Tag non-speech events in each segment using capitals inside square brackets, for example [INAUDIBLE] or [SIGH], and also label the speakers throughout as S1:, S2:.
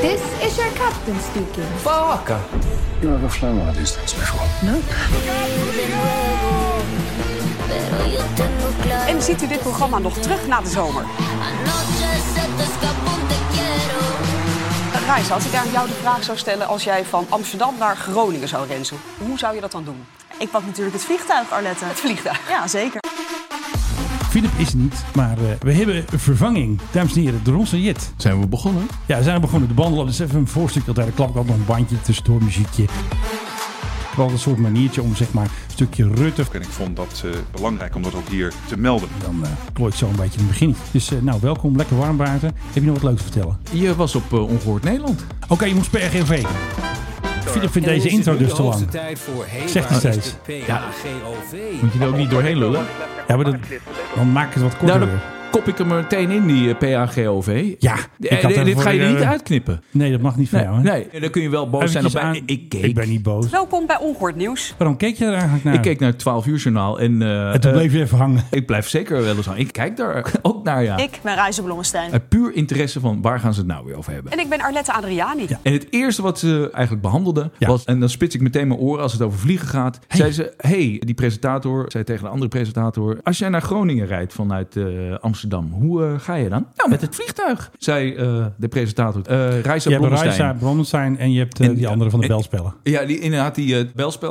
S1: This is your captain speaking.
S2: Fucker!
S3: You ever flown one of these things before?
S4: En ziet u dit programma nog terug na de zomer? Reis, als ik aan jou de vraag zou stellen als jij van Amsterdam naar Groningen zou renzen, hoe zou je dat dan doen?
S5: Ik pak natuurlijk het vliegtuig, Arlette.
S4: Het vliegtuig.
S5: Ja, zeker.
S6: Philip is er niet, maar eh, we hebben vervanging. Dames en heren, de Ronse Jet.
S7: Zijn we begonnen?
S6: Ja, we zijn begonnen. De bandel op. Dus even een voorstuk. Dat daar de klap ik altijd nog een bandje tussendoor, muziekje. Wel een soort maniertje om zeg maar een stukje Rutte.
S8: En ik vond dat eh, belangrijk om dat ook hier te melden.
S6: Dan eh klooit zo een beetje in het begin. Dus eh, nou, welkom. Lekker warm buiten. Heb je nog wat leuks te vertellen?
S7: Je was op eh, Ongehoord Nederland.
S6: Oké, je moest per RGV. Philip vindt deze intro dus te lang. Zegt hij steeds.
S7: Ja. Moet je er ook niet doorheen lullen?
S6: Ja, maar dat, dan maak ik het wat korter
S7: Nou, dan
S6: weer.
S7: kop ik hem meteen in, die eh, PAGOV.
S6: Ja,
S7: Eh,
S6: ik had
S7: dit- dit
S6: daarvoor,
S7: ga je er niet
S6: eh,
S7: uitknippen.
S6: Nee, dat mag niet van
S7: Nee,
S6: jou, hè?
S7: nee, dan kun je wel boos zijn op
S6: Eventjes
S7: mij.
S6: aan-
S7: Ik keek.
S6: ik ben niet boos.
S4: Welkom bij Ongehoord Nieuws.
S6: Waarom keek je er eigenlijk naar?
S7: Ik keek naar het 12 uur journaal en eh,
S6: En toen
S7: eh,
S6: bleef je even hangen.
S7: ik blijf zeker wel eens aan. Ik kijk daar [LAUGHS] ook naar, ja.
S5: Ik ben Reizen Blommestein.
S7: Uit puur interesse van waar gaan ze het nou weer over hebben.
S4: En ik ben Arlette Adriani.
S7: En het eerste wat ze eigenlijk behandelden
S6: Ja.
S7: was, en dan spits ik meteen mijn oren als het over vliegen gaat. Zei ze, hey, die presentator zei tegen de andere presentator, als jij naar Groningen rijdt vanuit eh, Amsterdam, hoe eh, ga je dan? Nou, met het vliegtuig, zei eh, de presentator. Eh Reisa
S6: Je hebt een
S7: Blommestein.
S6: Rijsa, Brondenstein en je hebt eh,
S7: En-
S6: die andere van de
S7: en-
S6: belspellen.
S7: Ja, die, inderdaad, die eh,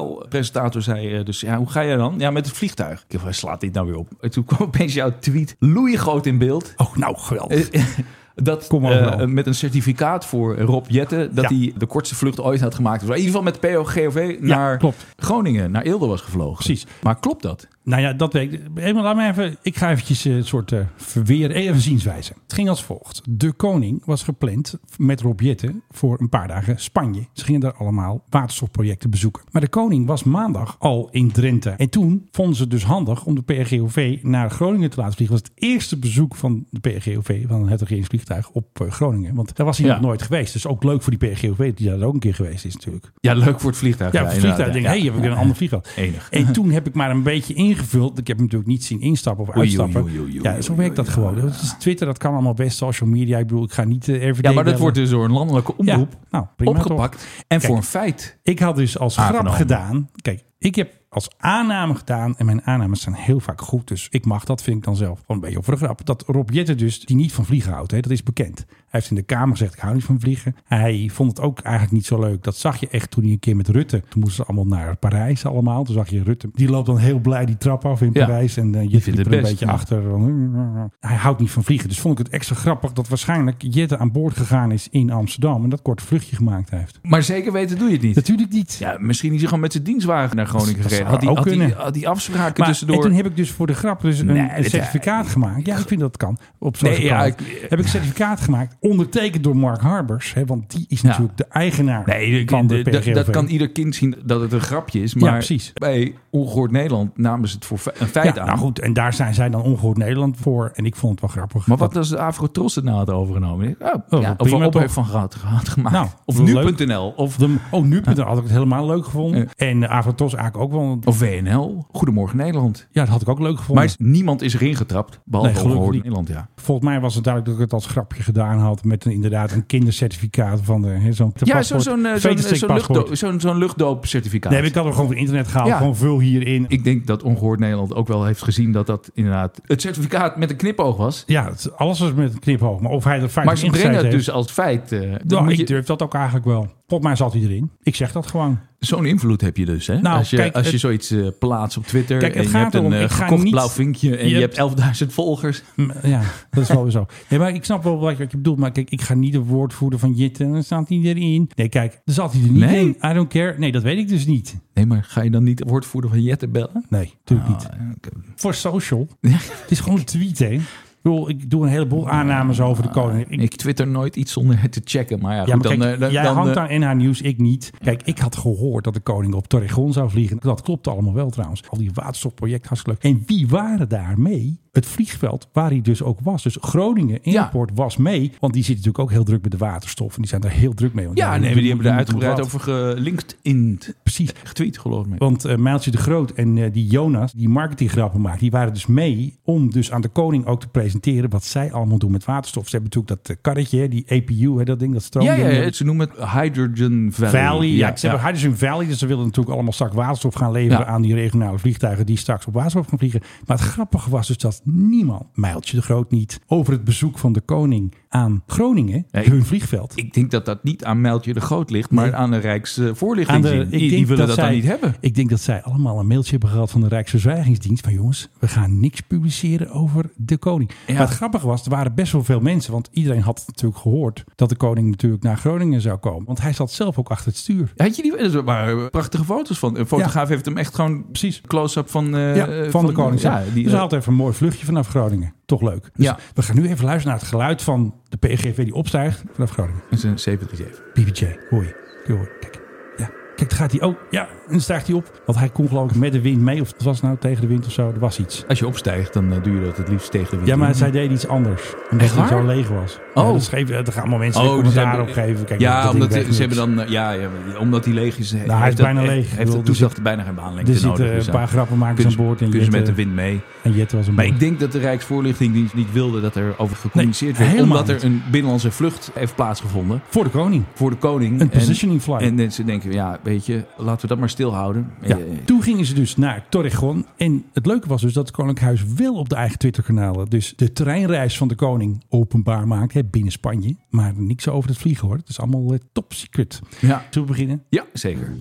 S7: belspelpresentator zei eh, dus, ja, hoe ga je dan? Ja, met het vliegtuig. Ik dacht, waar slaat dit nou weer op? En toen [LAUGHS] kwam opeens jouw tweet, groot in beeld.
S6: Oh, nou geweldig.
S7: Eh, [LAUGHS] Dat
S6: Kom maar
S7: eh,
S6: overal.
S7: met een certificaat voor Rob Jetten dat
S6: Ja.
S7: hij de kortste vlucht ooit had gemaakt. Dus In ieder geval met POGOV naar
S6: klopt.
S7: Groningen, naar Eelde was gevlogen.
S6: Precies.
S7: Maar klopt dat?
S6: Nou ja, dat weet ik. Even, laat me even. Ik ga eventjes eh, een soort eh verweer. Even zienswijze. Het ging als volgt. De koning was gepland met Rob Jetten voor een paar dagen Spanje. Ze gingen daar allemaal waterstofprojecten bezoeken. Maar de koning was maandag al in Drenthe. En toen vonden ze het dus handig om de PRGOV naar Groningen te laten vliegen. Dat was het eerste bezoek van de PRGOV, van het regeringsvliegtuig, op eh, Groningen. Want daar was hij
S7: Ja.
S6: nog nooit geweest. Dus ook leuk voor die PRGOV, die daar ook een keer geweest is natuurlijk.
S7: Ja, leuk voor het vliegtuig.
S6: Ja, voor het vliegtuig. Ik denk, hé, hey, heb ik weer een ander vliegtuig.
S7: [LAUGHS] Enig.
S6: En toen heb ik maar een beetje ingevuld. Ik heb hem natuurlijk niet zien instappen of
S7: oei,
S6: uitstappen.
S7: oei, oei, oei,
S6: Ja, zo
S7: oei,
S6: werkt dat
S7: oei,
S6: gewoon. Dat is Twitter, dat kan allemaal best. Social media, ik bedoel, ik ga niet uh,
S7: Ja, maar dat wordt dus door een landelijke omroep
S6: Ja, nou, prima
S7: opgepakt. En voor een feit.
S6: Ik had dus als grap
S7: Aangenomen.
S6: gedaan. Kijk, ik heb als aanname gedaan. En mijn aannames zijn heel vaak goed. Dus ik mag dat, vind ik dan zelf. Gewoon een beetje over de grap. Dat Rob Jetten dus, die niet van vliegen houdt. Hè, dat is bekend. Hij heeft in de Kamer gezegd, ik hou niet van vliegen. Hij vond het ook eigenlijk niet zo leuk. Dat zag je echt toen hij een keer met Rutte. Toen moesten ze allemaal naar Parijs allemaal. Toen zag je Rutte. Die loopt dan heel blij die trap af in
S7: Ja.
S6: Parijs. En eh, je
S7: vindt
S6: vindt er
S7: het
S6: een
S7: best,
S6: beetje
S7: ja.
S6: achter. eh, Hij houdt niet van vliegen. Dus vond ik het extra grappig dat waarschijnlijk Jette aan boord gegaan is in Amsterdam. En dat kort vluchtje gemaakt heeft.
S7: Maar zeker weten doe je het niet.
S6: Natuurlijk niet.
S7: Ja, misschien is hij gewoon met zijn dienstwagen naar Groningen
S6: Dat zou
S7: gereden. Had die,
S6: ook
S7: had die,
S6: kunnen.
S7: had die afspraken
S6: Maar,
S7: tussendoor.
S6: En toen heb ik dus voor de grap dus een,
S7: Nee,
S6: een
S7: dit-
S6: certificaat gemaakt. Ja, ik vind dat kan. Op zo'n
S7: Nee, ja, ik-
S6: heb ik een certificaat gemaakt, ondertekend door Mark Harbers. Hè, want die is natuurlijk de eigenaar
S7: Nee,
S6: van de,
S7: dat-
S6: PRGOV.
S7: dat kan ieder kind zien dat het een grapje is. Maar
S6: precies.
S7: bij Ongehoord Nederland namen ze het voor fe- een feit
S6: ja,
S7: aan.
S6: nou goed, en daar zijn zij dan ongehoord Nederland voor. En ik vond het wel grappig.
S7: Maar wat als de Afrotros het nou had overgenomen? Oh,
S6: Oh,
S7: ja, of
S6: prima
S7: een ophef
S6: toch?
S7: van gehad, had gemaakt.
S6: Nou,
S7: of
S6: wel
S7: nu.nl. Of,
S6: De, oh, nu had ik het helemaal leuk gevonden. En uh, Avatos eigenlijk ook wel. want-
S7: of WNL. Goedemorgen Nederland.
S6: Ja, dat had ik ook leuk
S7: Maar
S6: gevonden.
S7: is- niemand is erin getrapt. Behalve
S6: Nee, gelukkig
S7: Ongehoord
S6: niet.
S7: Nederland, ja.
S6: Volgens mij was het duidelijk dat ik het als grapje gedaan had. Met een, inderdaad een kindercertificaat van de, hè, zo'n
S7: Ja, zo-
S6: paspoort.
S7: zo'n eh, zo'n
S6: Vetersteek
S7: zo'n
S6: paspoort.
S7: luchtdo- zo'n- zo'n luchtdoopcertificaat.
S6: Nee, maar ik had hem gewoon van internet gehaald.
S7: Ja.
S6: Gewoon vul hierin.
S7: ik denk dat Ongehoord Nederland ook wel heeft gezien dat dat inderdaad het certificaat met een knipoog was.
S6: Ja, het- alles was met een knipoog. Maar of hij er
S7: Maar
S6: feitelijk
S7: ze
S6: ingezet
S7: brengen het
S6: heeft...
S7: dus als feit. eh, dat
S6: Nou,
S7: moet
S6: ik
S7: je-
S6: durf dat ook eigenlijk wel. Volgens mij zat hij erin. Ik zeg dat gewoon.
S7: Zo'n invloed heb je dus, hè?
S6: Nou,
S7: als je,
S6: kijk,
S7: als je
S6: het-
S7: zoiets eh, plaatst op Twitter
S6: Kijk, het
S7: en je
S6: gaat
S7: hebt een
S6: erom,
S7: eh,
S6: ik ga
S7: gekocht
S6: niet-
S7: blauw vinkje en
S6: je
S7: je, hebt 11.000 volgers.
S6: Mm, Ja, dat is wel weer zo. Nee, maar ik snap wel wat je, wat je bedoelt. Maar kijk, ik ga niet de woordvoerder van Jitten. Dan staat hij erin. Nee, kijk, dan zat hij er niet
S7: Nee.
S6: in. I don't care. Nee, dat weet ik dus niet.
S7: Nee, maar ga je dan niet de woordvoerder van Jette bellen?
S6: Nee, natuurlijk niet.
S7: Ah, oké.
S6: Voor social. Het is gewoon een tweet, hè. Ik bedoel, ik doe een heleboel aannames over de koning. Ik-
S7: eh, Ik twitter nooit iets zonder het te checken. Maar ja,
S6: Ja,
S7: goed,
S6: maar
S7: dan,
S6: kijk,
S7: eh, dan,
S6: jij
S7: dan,
S6: hangt
S7: eh,
S6: aan NH Nieuws, ik niet. Kijk, ik had gehoord dat de koning op Torregon zou vliegen. Dat klopt allemaal wel trouwens. Al die waterstofproject, hartstikke leuk. En wie waren daar mee? Het vliegveld waar hij dus ook was. Dus Groningen
S7: Ja.
S6: Airport was mee. Want die zitten natuurlijk ook heel druk met de waterstof. En die zijn daar heel druk mee. want
S7: Ja, nee, maar die hebben er uitgebreid
S6: wat.
S7: over gelinkt in
S6: Precies.
S7: getweet, geloof ik.
S6: Want eh Mijltje de Groot en eh, die Jonas, die marketinggrappen maakt, die waren dus mee om dus aan de koning ook te presenteren wat zij allemaal doen met waterstof. Ze hebben natuurlijk dat eh, karretje, hè, die APU, hè, dat ding, dat stroom.
S7: Ja, ja, ja, ze noemen het Hydrogen Valley.
S6: Valley, ja, ze hebben Hydrogen Valley, dus ze willen natuurlijk allemaal straks waterstof gaan leveren
S7: Ja.
S6: aan die regionale vliegtuigen die straks op waterstof gaan vliegen. Maar het grappige was dus dat niemand, Mijltje de Groot niet, over het bezoek van de koning aan Groningen,
S7: Nee.
S6: hun vliegveld.
S7: Ik denk dat dat niet aan Mijltje de Groot ligt, maar
S6: Nee.
S7: aan de Rijksvoorlichting.
S6: Aan de-
S7: die, die willen dat, dan niet hebben.
S6: Ik denk dat zij allemaal een mailtje hebben gehad van de Rijksverzwijgingsdienst. Van jongens, we gaan niks publiceren over de koning.
S7: Ja.
S6: Maar het grappige was, er waren best wel veel mensen. Want iedereen had natuurlijk gehoord dat de koning natuurlijk naar Groningen zou komen. Want hij zat zelf ook achter het stuur.
S7: Had je die, er waren prachtige foto's van. Een fotograaf heeft hem echt gewoon
S6: Precies.
S7: close-up van, eh,
S6: Ja, van,
S7: eh,
S6: de koning.
S7: Ja,
S6: zelf.
S7: die, eh,
S6: dus hij had even een mooi vluchtje vanaf Groningen. Toch leuk. Dus
S7: Ja.
S6: we gaan nu even luisteren naar het geluid van de PGV die opstijgt vanaf Groningen.
S7: is een 737.
S6: BBJ, hoor je. Kun je horen. Kijk. Ja. Kijk, daar gaat hij. Oh, ja. En dan stijgt hij op. Want hij kon geloof ik met de wind mee. Of het was nou tegen de wind of zo. Er was iets.
S7: Als je opstijgt, dan eh, doe je dat het liefst tegen de wind.
S6: Ja, maar
S7: in.
S6: zij deden iets anders. Omdat
S7: Echt
S6: het
S7: waar?
S6: zo leeg was.
S7: Oh.
S6: Ja, dat schreef, er gaan allemaal mensen
S7: Oh,
S6: oh,
S7: dus
S6: commentaar
S7: hebben-
S6: op geven. Kijk,
S7: ja,
S6: dat ding
S7: omdat,
S6: werkt
S7: ze
S6: niks. Nou,
S7: hebben dan, eh, ja, ja, omdat hij leeg is.
S6: hij is bijna leeg. Ik
S7: Heeft
S6: bedoel,
S7: de
S6: er
S7: toezicht bijna geen baan
S6: Er
S7: lekker nodig.
S6: zitten
S7: dus
S6: een
S7: ja.
S6: paar grappenmakers
S7: Kunnen
S6: aan
S7: ze-
S6: boord. eh, En
S7: kunnen ze
S6: Jette,
S7: met de wind mee.
S6: en Jette was een
S7: Maar
S6: boord.
S7: ik denk dat de Rijksvoorlichtingdienst niet wilde dat er over gecommuniceerd
S6: Nee,
S7: werd.
S6: helemaal
S7: Omdat er een binnenlandse vlucht heeft plaatsgevonden
S6: Voor de koning.
S7: voor de koning.
S6: Een
S7: En-
S6: positioning flight.
S7: En mensen denken, ja, weet je, laten we dat maar stilhouden.
S6: ja.
S7: Eh,
S6: Toen gingen ze dus naar Torrejon. En het leuke was dus dat het Koninklijk Huis wel op de eigen Twitterkanalen... dus de terreinreis van de koning openbaar maakt hè, binnen Spanje. Maar niks over het vliegen hoor. Het is allemaal eh, top secret.
S7: Ja.
S6: Zullen we beginnen?
S7: ja, zeker.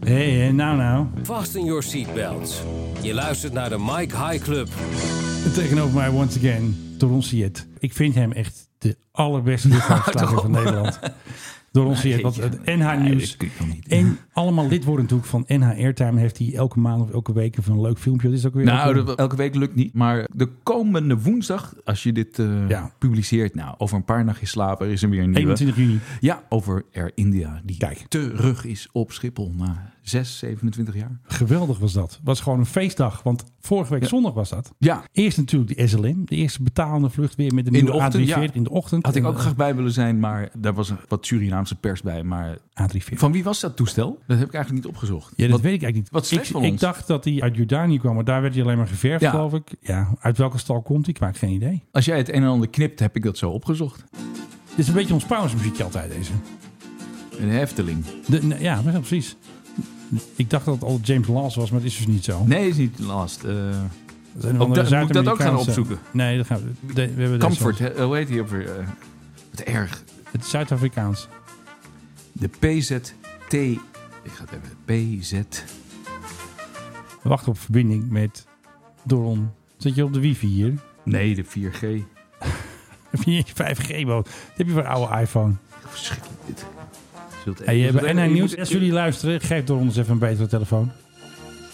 S6: Hé, hey, nou nou.
S2: Vast in your seatbelts. Je luistert naar de Mike High Club.
S6: Tegenover mij once again, Doron Siet. Ik vind hem echt de
S7: [LAUGHS]
S6: allerbeste luchtvaartslager van Nederland. Doron Siet, want het NH
S7: Nee,
S6: Nieuws...
S7: dat kun je toch niet.
S6: En allemaal lid worden natuurlijk van NH Airtime. Heeft hij elke maand of elke week even een leuk filmpje. Dat is ook weer...
S7: Nou,
S6: ook-
S7: dat- elke week lukt niet. Maar de komende woensdag, als je dit eh,
S6: Ja.
S7: publiceert, nou, over een paar nachtjes slapen, er is er weer een nieuwe.
S6: 21 juni.
S7: Ja, over Air India, die
S6: Kijk.
S7: terug is op Schiphol na 6, 27 jaar.
S6: Geweldig was dat. Was gewoon een feestdag. Want vorige week zondag was dat.
S7: Ja,
S6: Eerst natuurlijk de SLM. De eerste betalende vlucht weer met de
S7: de
S6: nieuwe
S7: ochtend,
S6: A340
S7: ja.
S6: in de ochtend.
S7: had ik
S6: En,
S7: ook
S6: eh,
S7: graag bij willen zijn, maar daar was wat Surinaamse pers bij. Maar
S6: A340.
S7: van wie was dat toestel? Dat heb ik eigenlijk niet opgezocht.
S6: Ja, dat
S7: Wat-
S6: weet ik eigenlijk niet.
S7: wat slecht
S6: ik,
S7: van
S6: ik
S7: ons.
S6: dacht dat hij uit Jordanië kwam, maar daar werd hij alleen maar geverfd,
S7: Ja.
S6: geloof ik. Ja, uit welke stal komt hij? Ik maak geen idee.
S7: Als jij het een en ander knipt, heb ik dat zo opgezocht.
S6: Dit is een beetje ons pauzemuziekje altijd, deze.
S7: Een hefteling.
S6: De, nee, ja, maar ja, precies. Ik dacht dat het al James Last was, maar dat is dus niet zo.
S7: Nee, is niet last. Eh
S6: Dat zijn
S7: Ook
S6: andere
S7: dat- moet ik dat ook
S6: Zuid-Amerikaanse-
S7: gaan opzoeken?
S6: Nee, dat gaan we. de- we hebben deze
S7: Comfort,
S6: wel.
S7: hè? hoe heet die ook weer? Eh, wat erg.
S6: Het is Zuid-Afrikaans.
S7: De PZT. Ik ga het even. PZ.
S6: We wachten op verbinding met Doron. Zit je op de wifi hier? [LAUGHS]
S7: Nee, de 4G.
S6: Heb je niet 5G boot? Dat heb je voor een oude iPhone. Dus
S7: Verschrikkelijk dit. Zult
S6: Hey, je hebt
S7: zult-
S6: NH
S7: je
S6: Nieuws.
S7: moet-
S6: Als jullie luisteren, geef Doron eens even een betere telefoon.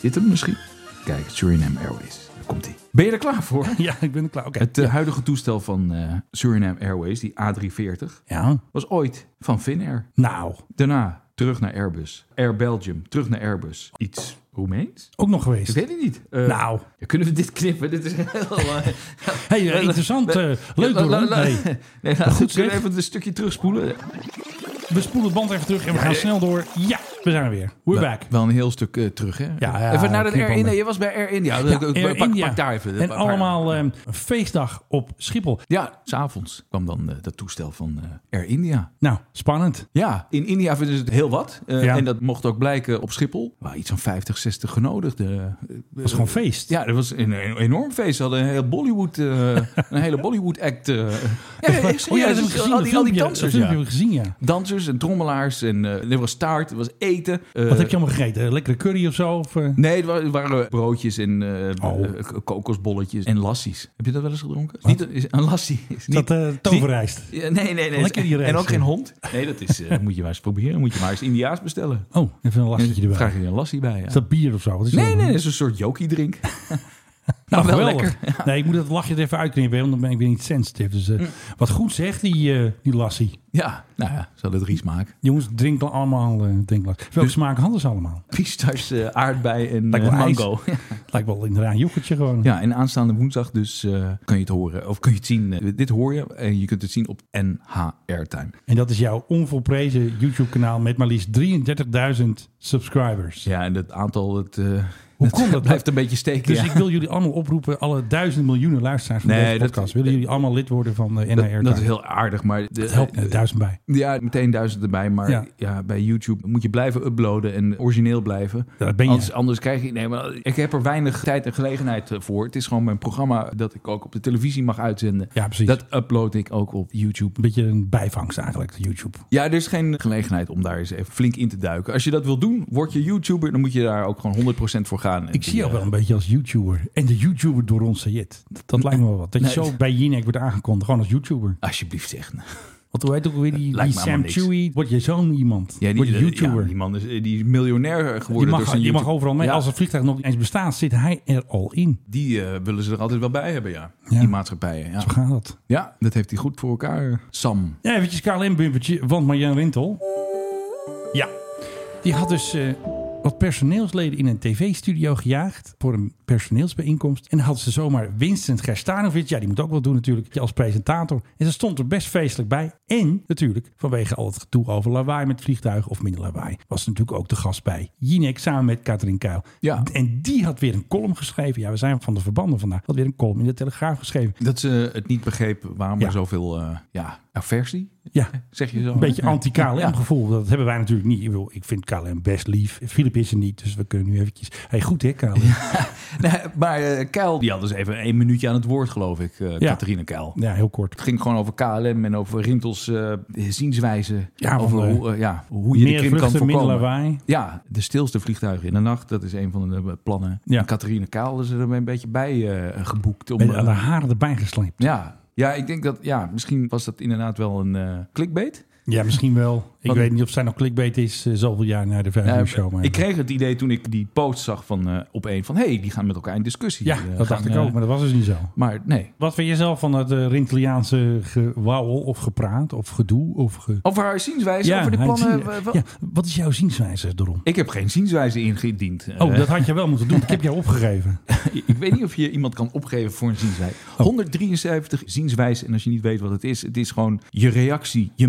S7: Dit hem misschien? Kijk, Suriname Airways. Daar komt hij. Ben je er klaar voor?
S6: [LAUGHS] Ja, ik ben er klaar. Oké.
S7: Het eh, huidige toestel van eh, Suriname Airways, die A340,
S6: Ja.
S7: was ooit van Finnair.
S6: Nou,
S7: Daarna terug naar Airbus. Air Belgium, terug naar Airbus. Iets Roemeens?
S6: ook nog
S7: Ik
S6: geweest.
S7: weet het niet. Eh,
S6: Nou.
S7: ja, Kunnen we dit knippen? Dit is heel... eh,
S6: Hey, eh, interessant. eh, leuk
S7: La- la-
S6: Doron.
S7: la-
S6: Hey,
S7: [LAUGHS] Nee, nou, goed,
S6: goed,
S7: kunnen we
S6: zeg.
S7: even een stukje terugspoelen?
S6: we spoelen het band even terug en we gaan snel door. eh. Ja, we zijn er weer. We're back.
S7: Wel een heel stuk eh, terug, hè?
S6: ja,
S7: even naar dat
S6: knip
S7: Air India.
S6: handen.
S7: Je was bij Air India.
S6: Ja,
S7: Pak-
S6: Air
S7: pak,
S6: India.
S7: pak daar even.
S6: En
S7: Pak-
S6: allemaal ehm, een feestdag op Schiphol.
S7: Ja, s'avonds kwam dan eh, dat toestel van eh, Air India.
S6: Nou, spannend.
S7: Ja, in India vinden ze het heel wat. Eh,
S6: Ja.
S7: En dat mocht ook blijken op Schiphol. Waar iets van 50, 60 genodigden. eh,
S6: Het was gewoon feest.
S7: Ja, dat was een, een enorm feest. Ze hadden een, heel Bollywood, [LAUGHS] eh, een hele Bollywood-act. eh. Ja, [LAUGHS] ja, echt serieus.
S6: oh ja, dat heb ik
S7: Dus
S6: gezien.
S7: Al die, al die
S6: Dat
S7: dansers,
S6: filmpje heb
S7: ja.
S6: ik gezien, ja.
S7: Dansers en trommelaars. En eh, er was taart, er was eten. eh,
S6: Wat heb je allemaal gegeten? Een Lekkere curry of zo? Of, eh?
S7: Nee, het wa- het waren broodjes en eh,
S6: Oh.
S7: eh, k- kokosbolletjes en lassies. Heb je dat wel eens gedronken? Is Niet, is, een lassie. Is
S6: Is
S7: niet,
S6: dat eh toverrijst?
S7: Ja, nee, nee, nee.
S6: Lekker die
S7: en
S6: rijst,
S7: ook geen
S6: ja.
S7: hond. Nee, dat is, eh, dat moet je maar eens proberen. Moet je maar eens Indiaas bestellen.
S6: Oh, even een lastje erbij.
S7: Vraag je er een lassie bij. ja.
S6: Is dat bier of zo? Wat is
S7: Nee,
S6: dat?
S7: nee, dat is een
S6: [LAUGHS]
S7: soort jokie-drink.
S6: Nou,
S7: wel
S6: geweldig. [LAUGHS] Nee, ik moet dat lachje er even uitknippen, want dan ben ik weer niet sensitive. Dus,
S7: Mm.
S6: eh, Wat goed zegt die, eh, die lassie.
S7: Ja, nou ja, zal het Ries maken.
S6: Jongens, drink allemaal eh drinklas. Welke
S7: Dus-
S6: smaak hadden ze allemaal?
S7: Pistache, eh, aardbei en
S6: Lijkt
S7: eh,
S6: wel ijs.
S7: mango.
S6: Lijkt wel inderdaad een yoghurtje gewoon.
S7: Ja, en aanstaande woensdag dus eh, kan je het horen. Of kun je het zien. Eh, dit hoor je en je kunt het zien op NH Airtime.
S6: En dat is jouw onvolprezen YouTube kanaal met maar liefst 33.000 subscribers.
S7: Ja, en dat aantal, het, eh,
S6: Hoe
S7: het
S6: komt dat?
S7: blijft een beetje steken.
S6: Dus
S7: ja.
S6: ik wil jullie allemaal oproepen, alle duizenden miljoenen luisteraars van
S7: Nee,
S6: deze
S7: dat-
S6: podcast. Willen jullie allemaal lid worden van eh, de
S7: Dat,
S6: NHR?
S7: dat is heel aardig, maar... de- eh,
S6: helpt net duizend bij.
S7: Ja, meteen duizend erbij. Maar
S6: Ja.
S7: ja. bij YouTube moet je blijven uploaden en origineel blijven.
S6: Ja, dat ben je.
S7: Anders, anders krijg je... Nee, maar ik heb er weinig tijd en gelegenheid eh, voor. Het is gewoon mijn programma dat ik ook op de televisie mag uitzenden.
S6: Ja, precies.
S7: Dat upload ik ook op YouTube.
S6: Een beetje een bijvangst eigenlijk, YouTube.
S7: Ja, er is geen gelegenheid om daar eens even flink in te duiken. Als je dat wil doen, word je YouTuber, dan moet je daar ook gewoon 100% voor gaan. En
S6: Ik
S7: die,
S6: zie jou
S7: eh,
S6: wel een beetje als YouTuber. En de YouTuber door ons Sayed. Dat, dat lijkt me wel wat. Dat je
S7: Nee.
S6: zo bij Jinek wordt aangekondigd, gewoon als YouTuber.
S7: eh, Alsjeblieft zeg. [LAUGHS]
S6: Want hoe heet ook weer die,
S7: Eh, Lijkt
S6: die
S7: me helemaal
S6: Sam
S7: niks.
S6: Chewie? Word je zo'n iemand?
S7: Ja,
S6: Word je
S7: die,
S6: YouTuber?
S7: ja, die man is, eh, die is miljonair
S6: die
S7: geworden. door
S6: mag,
S7: zijn
S6: die mag
S7: YouTube.
S6: overal mee.
S7: Ja,
S6: Als het vliegtuig nog niet eens bestaat, zit hij er al in.
S7: Die eh, willen ze er altijd wel bij hebben, ja.
S6: Ja.
S7: Die maatschappijen. Ja.
S6: Zo gaat dat.
S7: ja, dat heeft hij goed voor elkaar. eh, Sam.
S6: Ja, eventjes KLM-bumpertje, want Marjan Rintel... Ja, die had dus eh, wat personeelsleden in een tv-studio gejaagd... voor een personeelsbijeenkomst. En dan hadden ze zomaar Winston Gerstanovic... ja, die moet ook wel doen natuurlijk, als presentator. En ze stond er best feestelijk bij. En natuurlijk, vanwege al het gedoe over lawaai met vliegtuigen... of minder lawaai, was ze natuurlijk ook de gast bij Jinek... samen met Katrien Kuil.
S7: Ja.
S6: En die had weer een column geschreven. Ja, we zijn van de verbanden vandaag. Had weer een column in de Telegraaf geschreven.
S7: Dat ze het niet begreep waarom
S6: Ja.
S7: er zoveel eh, ja, aversie,
S6: Ja,
S7: zeg je zo.
S6: Een beetje
S7: Ja.
S6: anti-KLM
S7: Ja.
S6: gevoel. Dat hebben wij natuurlijk niet. Ik, bedoel, ik vind KLM best lief. Filip is er niet, dus we kunnen nu eventjes... hey, goed hè, KLM? Ja,
S7: Nee, maar eh, Keil, die had dus even één minuutje aan het woord, geloof ik. eh
S6: Ja.
S7: Catharina Keil.
S6: heel kort.
S7: Het ging gewoon over KLM en over Rintels eh, zienswijze.
S6: Ja,
S7: over
S6: want, eh,
S7: hoe, eh, ja, hoe je de
S6: Meer
S7: krim kan
S6: vluchten, minder
S7: voorkomen.
S6: lawaai.
S7: Ja, de stilste vliegtuigen in de nacht. Dat is een van de eh, plannen.
S6: Ja.
S7: En Catharina Kaal is er een beetje bij eh, geboekt. Om,
S6: Met de
S7: eh,
S6: haren erbij gesleept.
S7: ja. ja, ik denk dat... Ja, misschien was dat inderdaad wel een eh clickbait.
S6: Ja, misschien wel. Ik
S7: Want-
S6: weet niet of zij nog clickbait is eh, zoveel jaar na de vijf
S7: Eh,
S6: uur show. Maar
S7: ik kreeg het idee toen ik die post zag van eh op een van... hey, die gaan met elkaar in discussie.
S6: ja,
S7: Eh,
S6: dat
S7: gaan,
S6: dacht ik
S7: eh,
S6: ook, maar dat was dus niet zo.
S7: Maar nee.
S6: Wat vind je zelf van het eh, Rinteliaanse gewauwel of gepraat of gedoe? Of ge...
S7: Over haar zienswijze, over die
S6: hij-
S7: plannen...
S6: zie-
S7: eh, wel-
S6: ja, wat is jouw zienswijze erom?
S7: Ik heb geen zienswijze ingediend. Eh,
S6: Oh, dat had je wel moeten doen. Ik heb jou opgegeven.
S7: [LAUGHS] Ik weet niet of je iemand kan opgeven voor een zienswijze.
S6: Oh.
S7: 173 zienswijzen. En als je niet weet wat het is, het is gewoon je reactie, je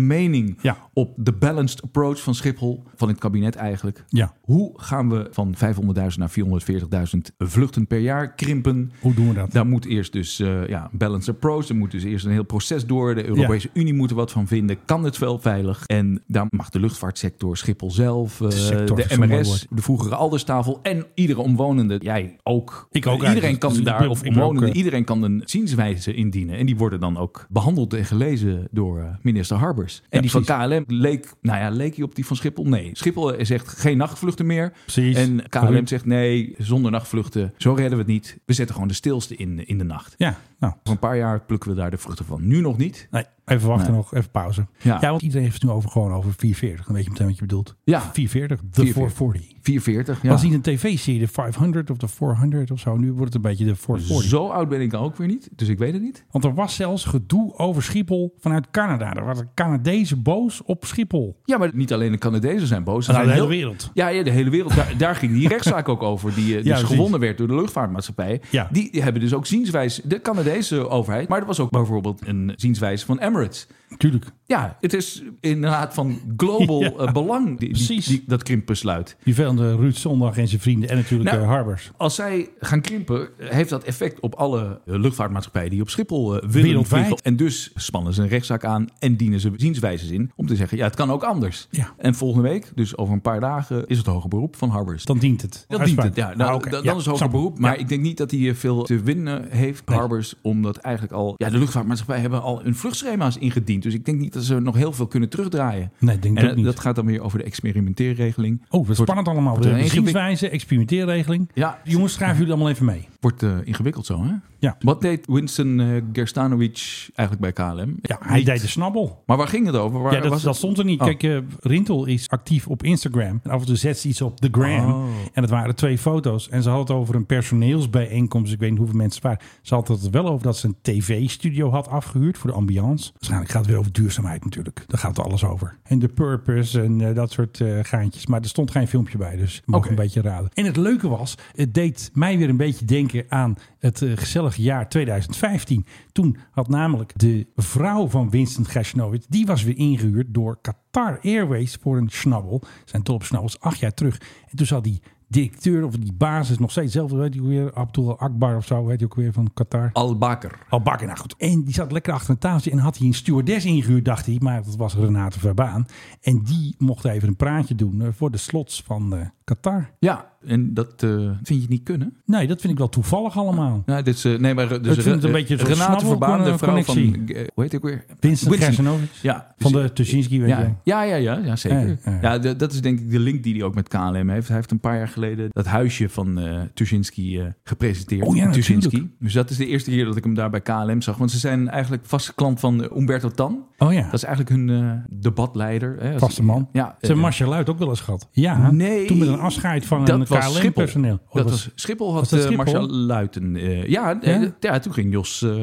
S6: [LAUGHS]
S7: mening
S6: Ja.
S7: op de balanced approach van Schiphol, van het kabinet eigenlijk.
S6: Ja,
S7: Hoe gaan we van 500.000 naar 440.000 vluchten per jaar krimpen?
S6: hoe doen we dat?
S7: Daar moet eerst dus eh, ja, een balanced approach. Er moet dus eerst een heel proces door. De Europese Unie moet er wat van vinden. Kan het wel veilig? En daar mag de luchtvaartsector, Schiphol zelf, eh,
S6: De sector is
S7: de
S6: zo'n mooi
S7: MRS,
S6: woord.
S7: de vroegere Alderstafel en iedere omwonende. Jij ook.
S6: Ik ook
S7: Iedereen
S6: eigenlijk.
S7: kan
S6: Dus ik
S7: daar,
S6: ben-
S7: of
S6: ik ben ook,
S7: omwonenden,
S6: eh,
S7: iedereen kan een zienswijze indienen. En die worden dan ook behandeld en gelezen door eh, minister Harbers. En
S6: Ja,
S7: die van
S6: precies.
S7: KLM leek, nou ja, leek hij op die van Schiphol? Nee. Schiphol eh, zegt geen nachtvluchten meer.
S6: Precies.
S7: En KLM
S6: Correct.
S7: zegt nee, zonder nachtvluchten. Zo redden we het niet. We zetten gewoon de stilste in, in de nacht.
S6: Ja, nou,
S7: Over een paar jaar plukken we daar de vruchten van. Nu nog niet.
S6: Nee, even wachten
S7: Nee.
S6: nog, even pauze. Ja.
S7: Ja.
S6: want iedereen heeft het nu over gewoon over 440. Dan weet je meteen wat je bedoelt.
S7: Ja.
S6: 440, de
S7: 440.
S6: 440.
S7: 440. Ja.
S6: Was niet een tv-serie, de 500 of de 400 of zo. Nu wordt het een beetje de 440.
S7: Zo oud ben ik dan ook weer niet. Dus ik weet het niet.
S6: Want er was zelfs gedoe over Schiphol vanuit Canada. Er waren Canadezen boos op Schiphol.
S7: Ja, maar niet alleen de Canadezen zijn boos. ze
S6: Nou,
S7: zijn
S6: de hele wereld.
S7: Ja, ja, de hele wereld. Daar, daar ging
S6: [LAUGHS]
S7: die rechtszaak ook over. Die, eh, die
S6: Ja,
S7: is
S6: precies.
S7: gewonnen werd door de luchtvaartmaatschappij.
S6: Ja.
S7: Die hebben dus ook zienswijze. De Canadese overheid. Maar er was ook bijvoorbeeld een zienswijze van Emirates.
S6: Tuurlijk.
S7: Ja, het is inderdaad van global
S6: [LAUGHS] Ja.
S7: eh, belang. die- die-
S6: Precies.
S7: die- dat krimpbesluit.
S6: Die velende Ruud Zondag en zijn vrienden. En natuurlijk
S7: Nou,
S6: eh, Harbers.
S7: Als zij gaan krimpen, heeft dat effect op alle eh, luchtvaartmaatschappijen die op Schiphol eh, willen
S6: Wereldwijd.
S7: vliegen. En dus spannen ze een rechtszaak aan en dienen ze zienswijzes in om te zeggen, ja, het kan ook anders.
S6: Ja.
S7: En volgende week, dus over een paar dagen, is het hoger beroep van Harbers.
S6: Dan dient het.
S7: Dat dient
S6: Uitspraak.
S7: het, ja. Nou,
S6: Ah, oké.
S7: Dan,
S6: Ja,
S7: dan is hoger
S6: snap ik.
S7: beroep. Maar
S6: Ja.
S7: ik denk niet dat hij eh, veel te winnen heeft, Harbers. Omdat eigenlijk al... Ja, de luchtvaartmaatschappijen hebben al hun vluchtschema's ingediend. Dus ik denk niet dat ze nog heel veel kunnen terugdraaien.
S6: Nee, ik denk
S7: en
S6: het ook niet.
S7: dat gaat dan weer over de experimenteerregeling.
S6: Oh, dat is
S7: Wordt-
S6: spannend allemaal.
S7: wordt een
S6: De
S7: ingewikkeld-
S6: zienswijze, experimenteerregeling.
S7: Ja.
S6: Jongens, schrijven jullie allemaal even mee.
S7: Wordt eh, ingewikkeld zo, hè?
S6: Ja.
S7: Wat deed Winston eh, Gerstanovic eigenlijk bij KLM?
S6: Ja, hij
S7: Niet.
S6: deed de snabbel.
S7: Maar waar ging het over? Waar
S6: ja, dat,
S7: was
S6: dat
S7: het?
S6: stond er niet.
S7: Oh.
S6: Kijk, eh, Rintel is actief op Instagram. En af en toe zet ze iets op de gram.
S7: Oh.
S6: En het waren twee foto's. En ze had het over een personeelsbijeenkomst. Dus Ik weet niet hoeveel mensen het waren. Ze had het wel over dat ze een tv-studio had afgehuurd voor de ambiance. Waarschijnlijk gaat het weer over duurzaamheid natuurlijk. Daar gaat alles over. En de purpose en eh, dat soort eh, gaantjes. Maar er stond geen filmpje bij, dus ik mag
S7: Oké.
S6: een beetje raden. En het leuke was, het deed mij weer een beetje denken aan het eh, gezellige jaar 2015. Toen had namelijk de vrouw van Winston Gershnowitz, die was weer ingehuurd door Qatar Airways voor een snabbel. Zijn topsnabbels acht jaar terug. En toen zat die directeur of die baas is nog steeds hetzelfde. Weet je ook weer, Abdul Akbar of zo, weet je ook weer, van Qatar.
S7: Al-Bakker.
S6: Al bakken, nou goed. En die zat lekker achter een tafeltje en had hij een stewardess ingehuurd, dacht hij. Maar dat was Renate Verbaan. En die mocht even een praatje doen eh, voor de slots van eh, Qatar.
S7: Ja, en dat eh, vind je niet kunnen.
S6: Nee, dat vind ik wel toevallig allemaal.
S7: Nou, dit is, eh, nee, maar eh, dus
S6: Ik vind het een
S7: Re-
S6: beetje zo'n
S7: Renate Verbaan, de vrouw van...
S6: snabbelconnectie.
S7: eh, hoe heet ik weer?
S6: Vincent Gersenovic.
S7: Ja.
S6: Van de Tuschinski, weet je.
S7: Ja, ja, ja, ja, ja, zeker.
S6: Ja,
S7: Ja,
S6: ja.
S7: d- dat is denk ik de link die hij ook met KLM heeft. Hij heeft een paar jaar geleden dat huisje van eh Tuschinski eh, gepresenteerd.
S6: Oh ja,
S7: Tuschinski.
S6: natuurlijk.
S7: Dus dat is de eerste keer dat ik hem daar bij KLM zag. Want ze zijn eigenlijk vaste klant van eh, Umberto Tan.
S6: Oh ja,
S7: Dat is eigenlijk hun eh, debatleider. Hè, als-
S6: vaste man.
S7: Ja,
S6: Ze
S7: eh,
S6: Marcia Luid ook wel eens gehad. Ja,
S7: Nee.
S6: toen met een afscheid van
S7: dat
S6: een
S7: was Schiphol.
S6: KLM-personeel.
S7: dat was, Schiphol had
S6: was Oh, dat
S7: eh,
S6: Schiphol?
S7: Marcel Luiten. eh, ja, eh,
S6: Ja?
S7: d- ja, toen ging Jos eh,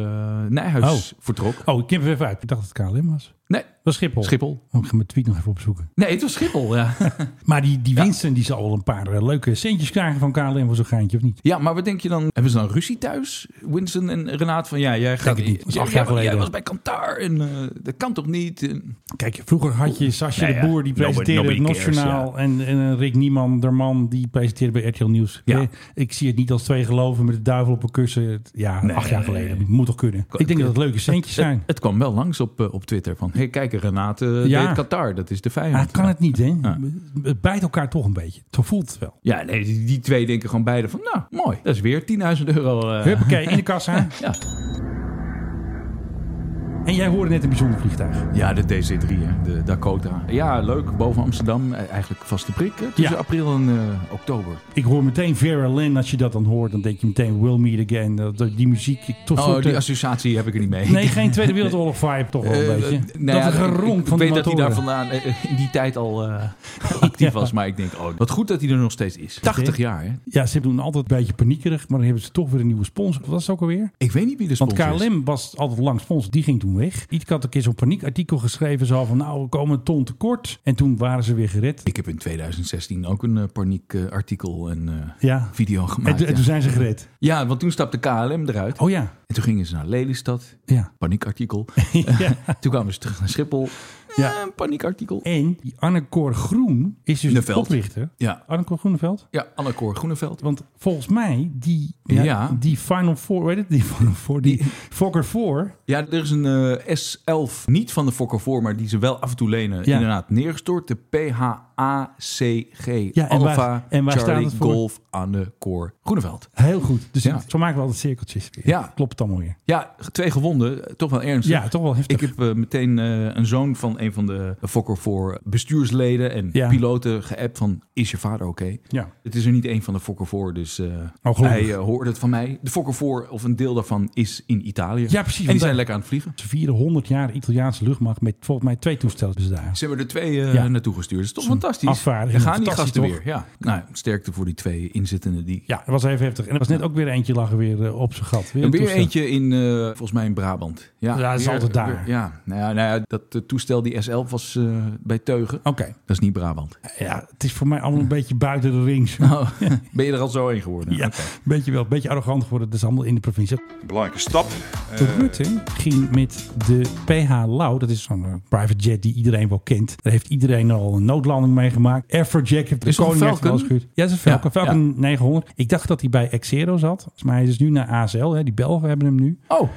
S7: Nijhuis vertrok.
S6: Oh, ik knip er even uit. Ik dacht dat het KLM was. Dat
S7: Nee,
S6: was Schiphol.
S7: Schiphol.
S6: Oh, ik ga mijn tweet nog even opzoeken.
S7: Nee, het was Schiphol, ja. [LAUGHS]
S6: Maar die, die Winston die zal wel een paar eh, leuke centjes krijgen van KLM voor zo'n geintje, of niet?
S7: Ja, maar wat denk je dan? Hebben ze dan ruzie thuis? Winston en Renaat van ja, jij gaat
S6: het niet. Dat is
S7: Jij-
S6: acht jaar
S7: jij- Jij
S6: geleden.
S7: was bij Kantar en eh, dat kan toch niet? En-
S6: Kijk, vroeger had je Sascha
S7: Nou ja,
S6: de Boer, die
S7: nobody-
S6: presenteerde
S7: nobody
S6: het
S7: cares,
S6: Nationaal. En, en eh, Rick Nieman, der man, die presenteerde bij RTL Nieuws.
S7: Ja.
S6: Eh, Ik zie het niet als twee geloven met de duivel op een kussen. Het- Ja,
S7: Nee.
S6: acht jaar geleden. Moet toch kunnen. Ik denk dat het leuke
S7: [LAUGHS]
S6: centjes zijn.
S7: Het, het kwam wel langs op, eh, op Twitter van hey, kijk Renaat eh,
S6: Ja.
S7: deed Qatar, dat is de vijand.
S6: Maar kan Ah, het niet, hè?
S7: Ja.
S6: Het bijt elkaar toch een beetje. Zo voelt het wel.
S7: Ja, nee, die, die twee denken gewoon beide van nou, mooi. Dat is weer 10.000 euro. eh.
S6: Huppakee, in de kassa.
S7: Ja.
S6: En jij hoorde net een bijzonder vliegtuig.
S7: Ja, de DC-3, hè, de Dakota. Ja, leuk, boven Amsterdam. eh, Eigenlijk vaste prik hè, tussen
S6: Ja.
S7: april en eh, oktober.
S6: Ik hoor meteen Vera Lynn. Als je dat dan hoort, dan denk je meteen We'll Meet Again. Dat- dat- Die muziek. ik- Toch
S7: Oh,
S6: soort,
S7: die
S6: eh,
S7: associatie heb ik er niet mee. [LAUGHS]
S6: Nee, geen Tweede Wereldoorlog vibe toch wel een
S7: Eh,
S6: beetje.
S7: eh, nou
S6: dat
S7: ja,
S6: geronk
S7: ik-
S6: van
S7: Ik
S6: de
S7: weet dat hij
S6: motoren.
S7: daar vandaan eh, eh, in die tijd al eh, [LAUGHS] actief was. Maar ik denk, oh, wat goed dat hij er nog steeds is. 80 jaar, hè?
S6: Ja, ze doen altijd een beetje paniekerig. Maar dan hebben ze toch weer een nieuwe sponsor. Wat was het ook alweer?
S7: Ik weet niet wie de
S6: Want
S7: sponsor is.
S6: KLM was altijd lang sponsor. Die ging toen weg. Ietke had een keer zo'n paniekartikel geschreven. Zo van, nou, we komen een ton tekort. En toen waren ze weer gered.
S7: Ik heb in 2016 ook een eh, paniekartikel en eh,
S6: Ja.
S7: video
S6: En,
S7: gemaakt.
S6: toen- en toen
S7: ja.
S6: zijn ze gered.
S7: Ja, want toen stapte KLM eruit.
S6: Oh ja.
S7: En toen gingen ze naar Lelystad.
S6: Ja. [LAUGHS]
S7: Paniekartikel.
S6: ja.
S7: toen kwamen ze terug naar Schiphol.
S6: Ja.
S7: Ja. paniekartikel.
S6: En die Annecoor Groen is dus de
S7: Groeneveld.
S6: oprichter.
S7: Ja,
S6: Annecoor Groeneveld.
S7: ja Annekoor Groeneveld.
S6: Want volgens mij, die,
S7: Ja.
S6: die Final Four, weet het? Die Final Four, die,
S7: Die-
S6: Fokker 4.
S7: Ja, er is een eh, S11, niet van de Fokker voor, maar die ze wel af en toe lenen.
S6: Ja.
S7: Inderdaad, neergestort. De PHACG.
S6: Ja, en waar-
S7: Alpha
S6: en waar
S7: Charlie
S6: staat het voor?
S7: Golf aan de Koor Groeneveld.
S6: Heel goed. Dus
S7: Ja.
S6: zo maken we altijd cirkeltjes weer.
S7: Ja.
S6: Klopt het allemaal weer.
S7: Ja, twee gewonden. eh, Toch wel ernstig.
S6: Ja, toch wel heftig.
S7: Ik heb eh, meteen eh, een zoon van een van de Fokker voor bestuursleden en
S6: Ja.
S7: piloten geappt van... Is je vader oké?
S6: Ja.
S7: Het is er niet één van de Fokker voor, dus eh,
S6: Oh, gelukkig.
S7: hij eh, hoorde het van mij. De Fokker voor, of een deel daarvan, is in Italië.
S6: Ja, precies,
S7: En
S6: want
S7: die
S6: daar-
S7: zijn lekker aan het vliegen.
S6: Ze vieren 100 jaar Italiaanse luchtmacht met volgens mij twee toestellen hebben ze daar.
S7: Ze hebben er twee eh,
S6: Ja.
S7: naartoe gestuurd. Dat is toch fantastisch.
S6: afvaardiging.
S7: Dan gaan die
S6: Fantastisch,
S7: gasten
S6: toch?
S7: weer. Ja. Nou, sterkte voor die twee inzittenden. Die...
S6: Ja, dat was even heftig. En er was net ook weer eentje lachen weer eh, op zijn gat. Weer
S7: En
S6: een
S7: weer
S6: toestel.
S7: eentje in, eh, volgens mij in Brabant. Ja,
S6: Ja, dat is
S7: weer-
S6: altijd daar.
S7: weer- ja. Nou, ja, nou ja, dat eh, toestel, die S11, was eh, bij Teugen.
S6: Oké.
S7: Dat is niet Brabant. Oh,
S6: Ja, het is voor mij allemaal een beetje buiten de rings.
S7: [LAUGHS] Ben je er al zo heen geworden?
S6: [LAUGHS] Ja,
S7: Oké.
S6: een beetje wel. Een beetje arrogant geworden. Dat is allemaal in de provincie.
S8: Een belangrijke stap.
S7: Eh.
S6: De Rutte ging met de PH Lau, dat is zo'n eh, private jet die iedereen wel kent. Daar heeft iedereen al een noodlanding mee gemaakt. Airfrajack heeft de
S7: Is dat
S6: koning
S7: een
S6: heeft wel
S7: Falcon?
S6: gehuurd. Ja, dat is een Falcon.
S7: Ja,
S6: Falcon 900. Ik dacht dat hij bij Exero zat, maar hij is nu naar ASL. Hè. Die Belgen hebben hem nu.
S7: Oh,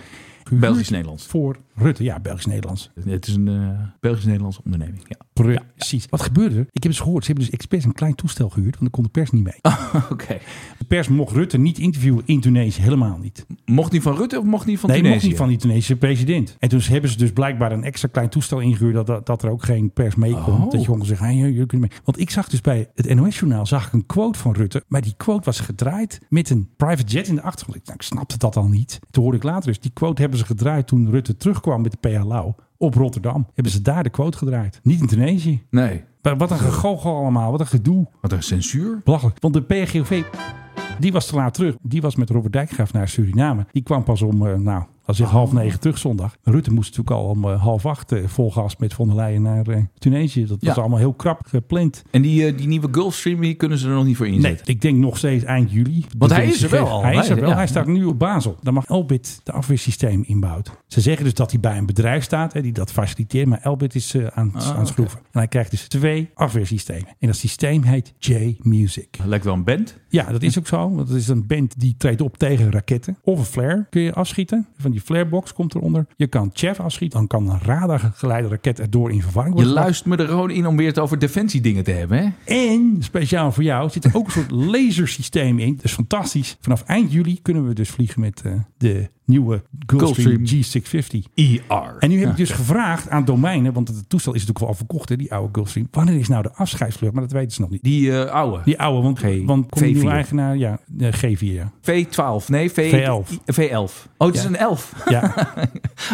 S6: Gehuurd
S7: Belgisch-Nederlands.
S6: Voor Rutte, ja, Belgisch-Nederlands.
S7: Het is een eh, Belgisch-Nederlandse onderneming.
S6: [LAUGHS]
S7: Ja.
S6: Precies. Wat gebeurde er? Ik heb eens gehoord, ze hebben dus expres een klein toestel gehuurd, want dan kon de pers niet mee.
S7: Oké.
S6: De pers mocht Rutte niet interviewen in Tunesië, helemaal niet.
S7: Mocht die van Rutte of mocht die van
S6: nee,
S7: Tunesië?
S6: mocht niet van die Tunesische president. En toen hebben ze dus blijkbaar een extra klein toestel ingehuurd... dat- dat, dat er ook geen pers mee kon.
S7: Oh.
S6: Dat je gewoon zegt, hey, jullie kunnen mee. Want ik zag dus bij het NOS-journaal zag ik een quote van Rutte... maar die quote was gedraaid met een private jet in de achtergrond. Ik, nou, ik snapte dat al niet. Toen hoorde ik later dus, die quote hebben ze gedraaid... toen Rutte terugkwam met de PLO op Rotterdam. Hebben ze daar de quote gedraaid. Niet in Tunesië.
S7: Nee.
S6: Maar Wat een gegogel allemaal, wat een gedoe.
S7: Wat een censuur.
S6: Belachelijk. Want de PRGOV, die was te laat terug. Die was met Robert Dijkgraaf naar Suriname. Die kwam pas om, eh, nou, Als ik half negen terug zondag. Rutte moest natuurlijk al om eh, half acht eh, vol gas met Von der Leyen naar eh, Tunesië. Dat was
S7: Ja.
S6: allemaal heel krap gepland.
S7: En die, eh, die nieuwe Gulfstream, die kunnen ze er nog niet voor inzetten.
S6: Nee, ik denk nog steeds eind juli.
S7: Want
S6: De
S7: hij is er wel al.
S6: Hij is er
S7: Hij-
S6: wel.
S7: ja.
S6: Hij staat nu op Basel. Daar mag Elbit de afweersysteem inbouwt. Ze zeggen dus dat hij bij een bedrijf staat hè, die dat faciliteert. Maar Elbit is eh, aan,
S7: Ah,
S6: aan het schroeven. En hij krijgt dus twee afweersystemen. En dat systeem heet J-Music.
S7: Lijkt wel een band.
S6: Ja, dat is ook zo. Want het is een band die treedt op tegen raketten. Of een flare kun je afschieten. Van die flarebox komt eronder. Je kan Chef afschieten. Dan kan een radargeleide raket erdoor in verwarring
S7: Je
S6: worden. gebracht.
S7: luistert me er gewoon in om weer het over defensiedingen te hebben, hè?
S6: En speciaal voor jou zit er ook een soort [LAUGHS] lasersysteem in. Dat is fantastisch. Vanaf eind juli kunnen we dus vliegen met eh, de nieuwe Gulfstream G650.
S7: ER.
S6: En nu heb ik dus gevraagd aan domeinen, want het toestel is natuurlijk wel al verkocht, hè, die oude Gulfstream. Wanneer is nou de afscheidsvlucht? Maar dat weten ze nog niet.
S7: Die eh, oude.
S6: Die oude, want,
S7: G-
S6: want komt die
S7: V4.
S6: nieuwe eigenaar? Ja, eh, G4. Ja.
S7: V12. Nee, v
S6: V11.
S7: V11. Oh, het is
S6: Ja.
S7: een 11. [LAUGHS]
S6: ja,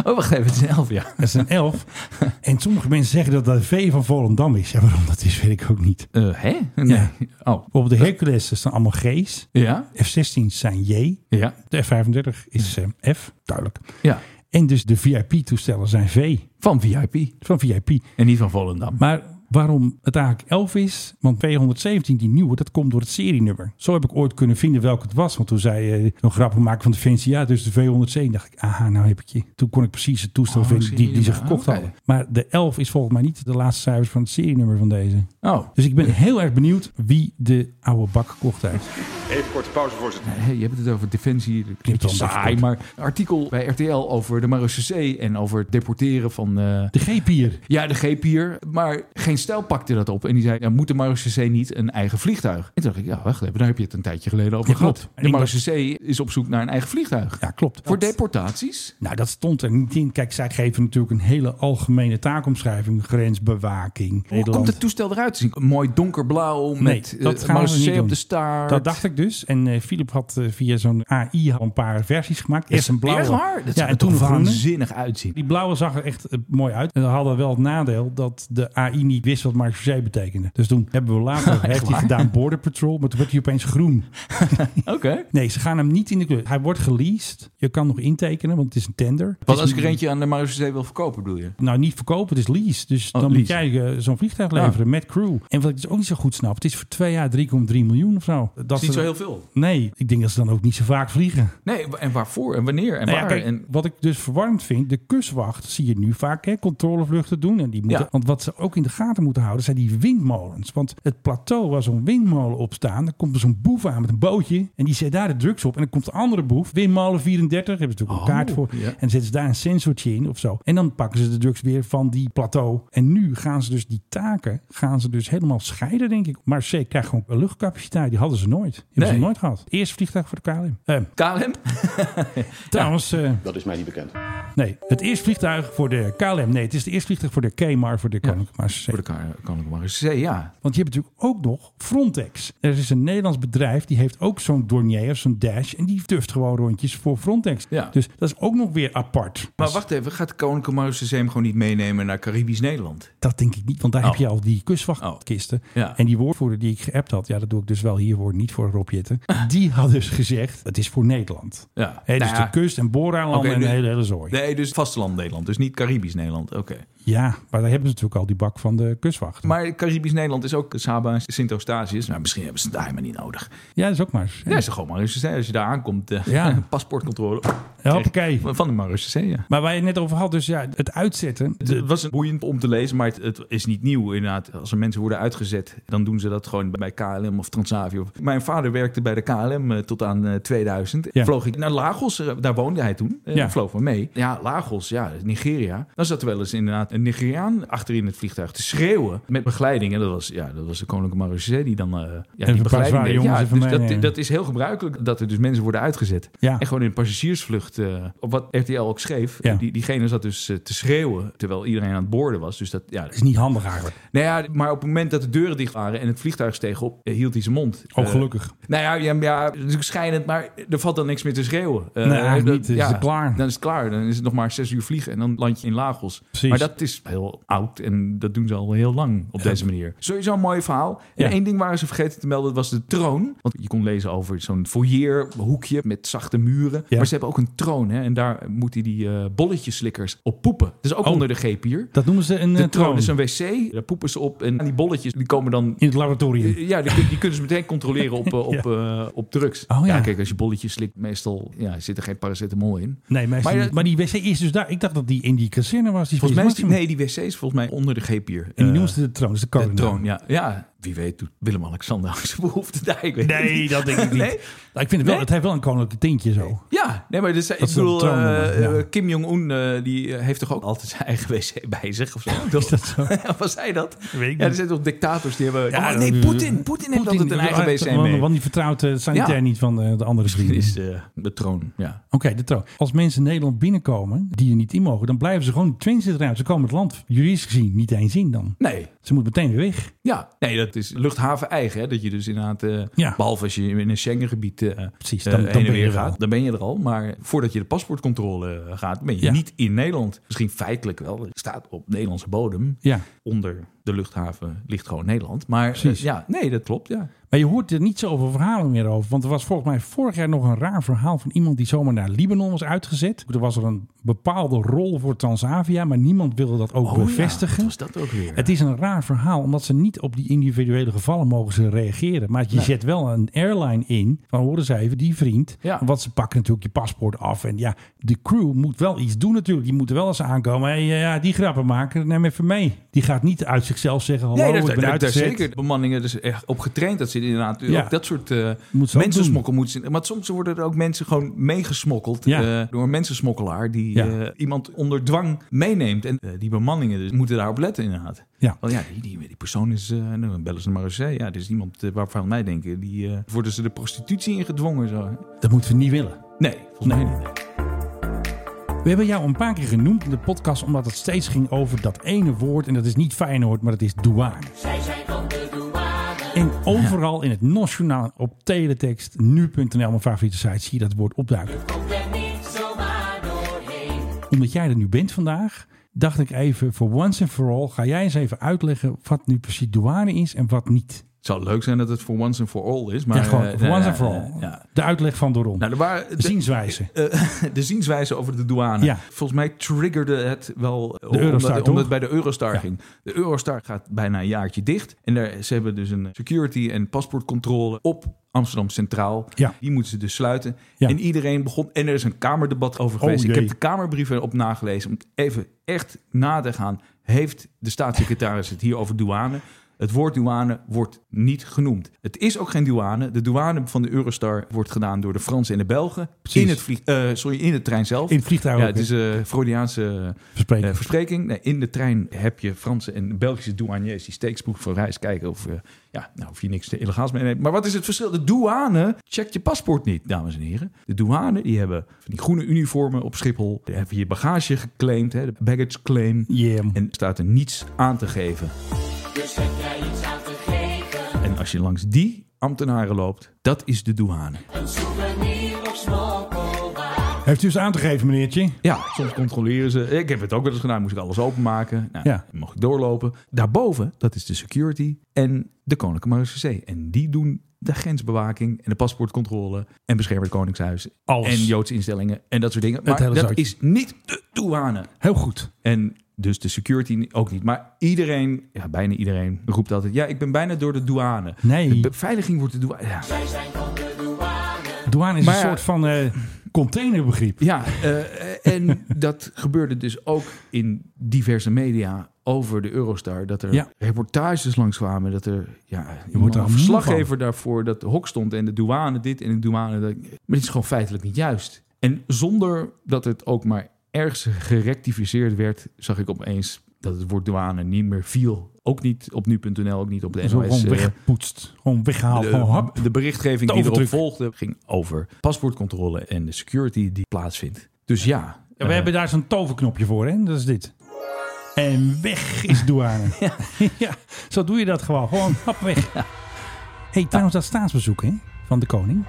S7: Oh, wacht even. Het is een 11, ja.
S6: dat is een 11. En sommige mensen zeggen dat dat de V van Volendam is. Ja, waarom dat is, weet ik ook niet.
S7: Eh, hè? Nee.
S6: Ja.
S7: Oh.
S6: Bijvoorbeeld de Hercules, dat zijn allemaal G's.
S7: Ja.
S6: F-16 zijn J.
S7: Ja.
S6: De F-35 is eh, F, duidelijk.
S7: Ja.
S6: En dus de VIP-toestellen zijn V
S7: Van VIP.
S6: van VIP.
S7: En niet van Volendam.
S6: Maar waarom het eigenlijk 11 is, want 217, die nieuwe, dat komt door het serienummer. Zo heb ik ooit kunnen vinden welke het was. Want toen zei eh een grappen maken van de fans, ja, dus de 217. dacht ik, aha, nou heb ik je. Toen kon ik precies het toestel
S7: Oh,
S6: vinden die, die ze
S7: serienummer,
S6: gekocht
S7: oké.
S6: hadden. Maar de 11 is volgens mij niet de laatste cijfers van het serienummer van deze.
S7: Oh.
S6: Dus ik ben heel erg benieuwd wie de oude bak gekocht heeft.
S8: Even korte pauze, voorzitter.
S7: Hey, je hebt het over defensie, dat klinkt wel
S6: Klinkt wel
S7: saai,
S6: even
S7: maar een artikel bij RTL over de Marochisee en over het deporteren van eh,
S6: De G-pier.
S7: ja, de G-pier. Maar geen stijl pakte dat op en die zei, ja, moet de Marochisee niet een eigen vliegtuig? En toen dacht ik, ja, wacht even, daar heb je het een tijdje geleden over
S6: Ja,
S7: gehad.
S6: klopt.
S7: De Marochisee is op zoek naar een eigen vliegtuig.
S6: Ja, klopt.
S7: Voor
S6: Dat-
S7: deportaties?
S6: Nou, dat stond er niet in. Kijk, zij geven natuurlijk een hele algemene taakomschrijving. Grensbewaking,
S7: Hoe komt
S6: Nederland.
S7: het toestel eruit te zien? Mooi donkerblauw met
S6: dat gaan we
S7: eh,
S6: niet
S7: Marochisee
S6: doen.
S7: op de staart.
S6: Dat dacht ik dus. En eh Philip had eh, via zo'n AI al een paar versies gemaakt. Eerst een blauwe.
S7: Echt waar? Dat
S6: ja,
S7: ja,
S6: en
S7: er
S6: toen
S7: toen
S6: een groene.
S7: waanzinnig uitzien.
S6: Die blauwe zag er echt eh, mooi uit. En we hadden wel het nadeel dat de AI niet wist wat Marseille betekende. Dus toen hebben we
S7: [LAUGHS]
S6: later, heeft hij gedaan Border Patrol, maar toen werd hij opeens groen.
S7: [LAUGHS] Oké.
S6: Nee, ze gaan hem niet in de kleur. Hij wordt geleased. Je kan nog intekenen, want het is een tender.
S7: Wat als ik er eentje aan de Marochisee wil verkopen, bedoel je?
S6: Nou, niet verkopen, het is lease. Dus
S7: Oh,
S6: dan moet jij
S7: lease.
S6: eh, zo'n vliegtuig leveren
S7: Ja.
S6: met crew. En wat ik dus ook niet zo goed snap, het is voor twee jaar 3,3 miljoen of zo. Dat
S7: Dat is niet
S6: ze-
S7: zo heel veel.
S6: Nee, ik denk dat ze dan ook niet zo vaak vliegen.
S7: Nee, wa- en waarvoor en wanneer en
S6: Nou ja,
S7: waar?
S6: kijk,
S7: en,
S6: Wat ik dus verwarrend vind, de kustwacht zie je nu vaak hè, controlevluchten doen. En die moeten,
S7: Ja.
S6: Want wat ze ook in de gaten moeten houden, zijn die windmolens. Want het plateau waar zo'n windmolen op staan, dan komt er zo'n boef aan met een bootje. En die zet daar de drugs op. En dan komt de andere boef, windmolen 34, daar hebben ze natuurlijk een
S7: Oh,
S6: kaart voor.
S7: ja.
S6: En dan zetten ze daar een sensortje in of zo. En dan pakken ze de drugs weer van die plateau. En nu gaan ze dus die taken, gaan ze dus helemaal scheiden, denk ik. Maar ze krijgt gewoon luchtcapaciteit, die hadden ze nooit. Die hebben ze
S7: Nee.
S6: nooit gehad. Eerst vliegtuig voor de KLM. Eh,
S7: KLM?
S6: Trouwens. eh, dat is mij niet bekend. Nee, het eerste vliegtuig voor de KLM. Nee, het is het eerste vliegtuig voor de KMAR, voor de Koninklijke Maarschalk.
S7: Voor de Ka- Koninklijke Marechaussee, ja.
S6: Want je hebt natuurlijk ook nog Frontex. Er is een Nederlands bedrijf die heeft ook zo'n Dornier of zo'n Dash. En die durft gewoon rondjes voor Frontex.
S7: Ja.
S6: Dus dat is ook nog weer apart. Dus
S7: Maar wacht even, gaat de Koninklijke Marechaussee hem gewoon niet meenemen naar Caribisch Nederland?
S6: Dat denk ik niet, want daar
S7: Oh.
S6: heb je al die kustwachtkisten.
S7: Ja.
S6: En die woordvoerder die ik geappt had, ja, dat doe ik dus wel hiervoor, niet voor Rob
S7: [LAUGHS]
S6: Jetten. Die had dus gezegd, het is voor Nederland.
S7: Ja.
S6: Hè, dus
S7: Nou ja.
S6: de kust en Boraanland
S7: Oké,
S6: en de
S7: dus-
S6: hele, hele zooi.
S7: Nee, dus vasteland Nederland, dus niet Caribisch Nederland. Oké.
S6: Ja, maar daar hebben ze natuurlijk al die bak van de kustwacht.
S7: Maar Caribisch Nederland is ook Saba en Sint-Eustatius. Nou, misschien hebben ze het daar helemaal niet nodig.
S6: Ja, dat is ook maar eens.
S7: Ja, is er gewoon Marechaussee. Als je daar aankomt, eh,
S6: Ja.
S7: [LAUGHS] paspoortcontrole
S6: Hoppakee.
S7: van de Marechaussee, ja.
S6: Maar waar je het net over had, dus ja, het uitzetten.
S7: Het was boeiend om te lezen, maar het, het is niet nieuw inderdaad. Als er mensen worden uitgezet, dan doen ze dat gewoon bij KLM of Transavia. Mijn vader werkte bij de KLM eh, tot aan eh, 2000.
S6: Ja.
S7: Vloog ik naar Lagos, eh, daar woonde hij toen. Eh,
S6: Ja.
S7: Vloog me mee. Ja, Lagos, ja, Nigeria. Dan zat er wel eens inderdaad een Nigeriaan achterin het vliegtuig te schreeuwen met begeleiding. En dat was, ja, dat was de koninklijke marechaussee die dan eh ja,
S6: een
S7: die
S6: paar
S7: begeleiding
S6: zware
S7: deed.
S6: jongens
S7: Ja,
S6: even
S7: dus dat,
S6: meenemen.
S7: dat is heel gebruikelijk dat er dus mensen worden uitgezet.
S6: Ja.
S7: En gewoon in een passagiersvlucht, eh, op wat RTL ook schreef,
S6: Ja.
S7: die, diegene zat dus eh, te schreeuwen terwijl iedereen aan het boorden was. Dus dat, ja.
S6: is niet handig eigenlijk.
S7: Nou ja, maar op het moment dat de deuren dicht waren en het vliegtuig steeg op, eh, hield hij zijn mond.
S6: Oh,
S7: Eh,
S6: gelukkig.
S7: nou ja, ja, ja, het is natuurlijk schijnend, maar er valt dan niks meer te schreeuwen. Eh,
S6: Nee, eigenlijk
S7: dat-
S6: niet. Dan is het klaar.
S7: Dan is het klaar. Dan is het nog maar zes uur vliegen en dan land je in Lagos.
S6: Precies.
S7: Maar dat het is heel oud en dat doen ze al heel lang op deze manier. Sowieso een mooi verhaal. En
S6: Ja.
S7: één ding waren ze vergeten te melden, dat was de troon. Want je kon lezen over zo'n foyerhoekje met zachte muren.
S6: Ja.
S7: Maar ze hebben ook een troon hè, en daar moeten die eh bolletjeslikkers op poepen. Dat is ook
S6: Oh.
S7: onder de G-pier.
S6: Dat noemen ze een
S7: De
S6: eh,
S7: troon
S6: troon.
S7: is een wc, daar poepen ze op en die bolletjes die komen dan
S6: In het laboratorium.
S7: ja, die, kun- die kunnen ze meteen controleren
S6: [LAUGHS]
S7: op, eh, op, eh, op drugs.
S6: Oh, ja.
S7: kijk, als je bolletjes slikt, meestal ja, zit er geen paracetamol in.
S6: Nee, maar,
S7: Maar
S6: maar,
S7: je-
S6: die wc is dus daar. Ik dacht dat die in die kazerne was. Die
S7: Volgens mij is die,
S6: Maxima.
S7: nee, die wc is volgens mij onder de G-pier.
S6: En die
S7: Eh,
S6: noemen ze de troon. Dat is de
S7: de
S6: code.
S7: troon, ja. ja. Wie weet doet Willem-Alexander ook zijn behoefte daar. Ik weet het
S6: Nee,
S7: niet.
S6: dat denk
S7: [LAUGHS]
S6: ik niet.
S7: Nee?
S6: Nou, ik vind het wel,
S7: Nee?
S6: het heeft wel een koninklijk tintje zo.
S7: Ja, nee, maar dus, ik
S6: is een
S7: bedoel,
S6: troon,
S7: eh,
S6: ja.
S7: eh, Kim Jong-un eh, die eh, heeft toch ook altijd zijn eigen wc bij zich of zo?
S6: Is [LAUGHS] [LAUGHS] dat zo?
S7: [LAUGHS] Was hij dat?
S6: weet ik
S7: ja, er
S6: niet.
S7: zijn toch dictators die hebben...
S6: Ja,
S7: oh, nee,
S6: eh,
S7: Poetin. Poetin heeft altijd een eigen wc mee.
S6: Ah, Want die vertrouwt eh, het sanitair
S7: Ja.
S6: niet van eh, de andere
S7: Dit
S6: vrienden.
S7: is eh, de troon, ja.
S6: Oké, de troon. Als mensen in Nederland binnenkomen die er niet in mogen, dan blijven ze gewoon die train zitten eruit. Ze komen het land juridisch gezien niet eens in dan.
S7: Nee,
S6: Ze moeten meteen weer weg.
S7: Ja, nee, dat is luchthaven eigen. Hè? Dat je dus inderdaad, eh,
S6: Ja.
S7: behalve als je in een Schengengebied eh
S6: Precies,
S7: eh,
S6: dan- dan
S7: heen en
S6: ben je
S7: weer
S6: er al.
S7: gaat, dan ben je er al. Maar voordat je de paspoortcontrole eh, gaat, ben je
S6: Ja.
S7: niet in Nederland. Misschien feitelijk wel. Het staat op Nederlandse bodem.
S6: Ja.
S7: Onder de luchthaven ligt gewoon Nederland. Maar eh,
S6: Precies.
S7: ja, nee, dat klopt. Ja.
S6: Maar je hoort er niet zoveel verhalen meer over. Want er was volgens mij vorig jaar nog een raar verhaal van iemand die zomaar naar Libanon was uitgezet. Er was er een bepaalde rol voor Transavia, maar niemand wilde dat ook
S7: Oh ja,
S6: bevestigen.
S7: wat was dat ook weer?
S6: Het is een raar verhaal, omdat ze niet op die individuele gevallen mogen ze reageren. Maar je zet wel een airline in, van horen ze even, die vriend.
S7: Ja.
S6: Want ze pakken natuurlijk je paspoort af. En ja, de crew moet wel iets doen natuurlijk. Die moeten wel eens aankomen. Hey, eh, ja, die grappen maken, neem even mee. Die gaat niet uit zichzelf zeggen, hallo,
S7: Nee,
S6: ik
S7: daar,
S6: ben
S7: daar, daar
S6: uitgezet.
S7: zeker. De Bemanningen dus echt op getraind. Dat ze inderdaad
S6: Ja.
S7: ook dat soort eh
S6: Moet ze ook
S7: mensen
S6: doen.
S7: smokkel moeten zien. Maar soms worden er ook mensen gewoon meegesmokkeld
S6: Ja.
S7: eh, door een mensensmokkelaar die
S6: Ja.
S7: eh, iemand onder dwang meeneemt. En eh, die bemanningen dus moeten daarop letten inderdaad.
S6: Ja.
S7: Want ja, die, die, die persoon is, eh nou, dan bellen ze maar eens. hè. Ja, dit is iemand eh, waarvan wij denken, die eh, worden ze de prostitutie ingedwongen. Zo. hè.
S6: Dat moeten we niet willen.
S7: Nee, volgens
S6: Nee.
S7: mij niet.
S6: We hebben jou een paar keer genoemd in de podcast, omdat het steeds ging over dat ene woord. En dat is niet Feyenoord, maar dat is douane. En overal in het Nationaal, op teletext, nu.nl, mijn favoriete site, zie je dat woord opduiken. Omdat jij er nu bent vandaag, dacht ik even, voor once and for all, ga jij eens even uitleggen wat nu precies douane is en wat niet.
S7: Het zou leuk zijn dat het voor once and for all is. Maar,
S6: ja, gewoon,
S7: eh,
S6: voor
S7: nou,
S6: once
S7: ja,
S6: and for
S7: ja,
S6: all.
S7: ja.
S6: De uitleg van Doron.
S7: Nou, er waren,
S6: de zienswijze.
S7: Eh, de zienswijze over de douane.
S6: Ja.
S7: Volgens mij triggerde het wel eh,
S6: Eurostar,
S7: omdat,
S6: toch?
S7: omdat het bij de Eurostar ging. De Eurostar gaat bijna een jaartje dicht. En daar, ze hebben dus een security en paspoortcontrole op Amsterdam Centraal.
S6: Ja.
S7: Die moeten ze dus sluiten.
S6: Ja.
S7: En iedereen begon. En er is een kamerdebat over
S6: Oh,
S7: geweest. Ik
S6: jee.
S7: heb de kamerbrief erop nagelezen om even echt na te gaan. Heeft de staatssecretaris het hier over douane? Het woord douane wordt niet genoemd. Het is ook geen douane. De douane van de Eurostar wordt gedaan door de Fransen en de Belgen.
S6: Precies.
S7: In het, vlieg, eh, sorry, in het trein zelf.
S6: In het vliegtuig
S7: Ja, dus
S6: ook,
S7: het
S6: hè?
S7: is een Freudiaanse
S6: Verspreken.
S7: eh, verspreking. Nee, in de trein heb je Franse en Belgische douaniers die steeksproef voor reis kijken of, eh, ja, nou, of je niks illegaals meeneemt. Maar wat is het verschil? De douane checkt je paspoort niet, dames en heren. De douane die hebben van die groene uniformen op Schiphol. Die hebben je bagage geclaimd, hè, de baggage claim.
S6: Yeah.
S7: En staat er niets aan te geven. En als je langs die ambtenaren loopt, dat is de douane.
S6: Heeft u eens aan te geven, meneertje?
S7: Ja, soms controleren ze. Ik heb het ook wel eens gedaan. Moest ik alles openmaken. Nou,
S6: Ja.
S7: Mocht ik doorlopen. Daarboven, dat is de security en de Koninklijke Marechaussee. En die doen de grensbewaking en de paspoortcontrole en beschermen het Koningshuis.
S6: Alles.
S7: En Joodse instellingen en dat soort dingen. Maar
S6: hele
S7: dat
S6: zaakje.
S7: is niet de douane.
S6: Heel goed.
S7: En dus de security ook niet. Maar iedereen, ja, bijna iedereen roept altijd... ja, ik ben bijna door de douane.
S6: Nee.
S7: De beveiliging wordt de douane... Ja,
S6: Douane is
S7: Maar
S6: een
S7: ja.
S6: soort van eh, containerbegrip.
S7: Ja, eh, en [LAUGHS] dat gebeurde dus ook in diverse media over de Eurostar. Dat er
S6: Ja.
S7: reportages langskwamen. Dat er ja,
S6: wordt er
S7: een
S6: moe
S7: verslaggever daarvoor dat de hok stond. En de douane dit en de douane dat. Maar dit is gewoon feitelijk niet juist. En zonder dat het ook maar ergens gerectificeerd werd, zag ik opeens dat het woord douane niet meer viel. Ook niet op nu.nl, ook niet op de
S6: Zo
S7: NOS.
S6: gewoon
S7: eh,
S6: weggepoetst. Gewoon weggehaald. gewoon hap.
S7: de berichtgeving die erop
S6: Toverdruk.
S7: volgde ging over paspoortcontrole en de security die plaatsvindt. Dus ja.
S6: Ja, we
S7: eh,
S6: hebben daar zo'n toverknopje voor, hè? Dat is dit. En weg is
S7: [LAUGHS]
S6: douane. ja. zo doe je dat gewoon. Gewoon hap weg. hey, trouwens, dat staatsbezoek hè, van de koning.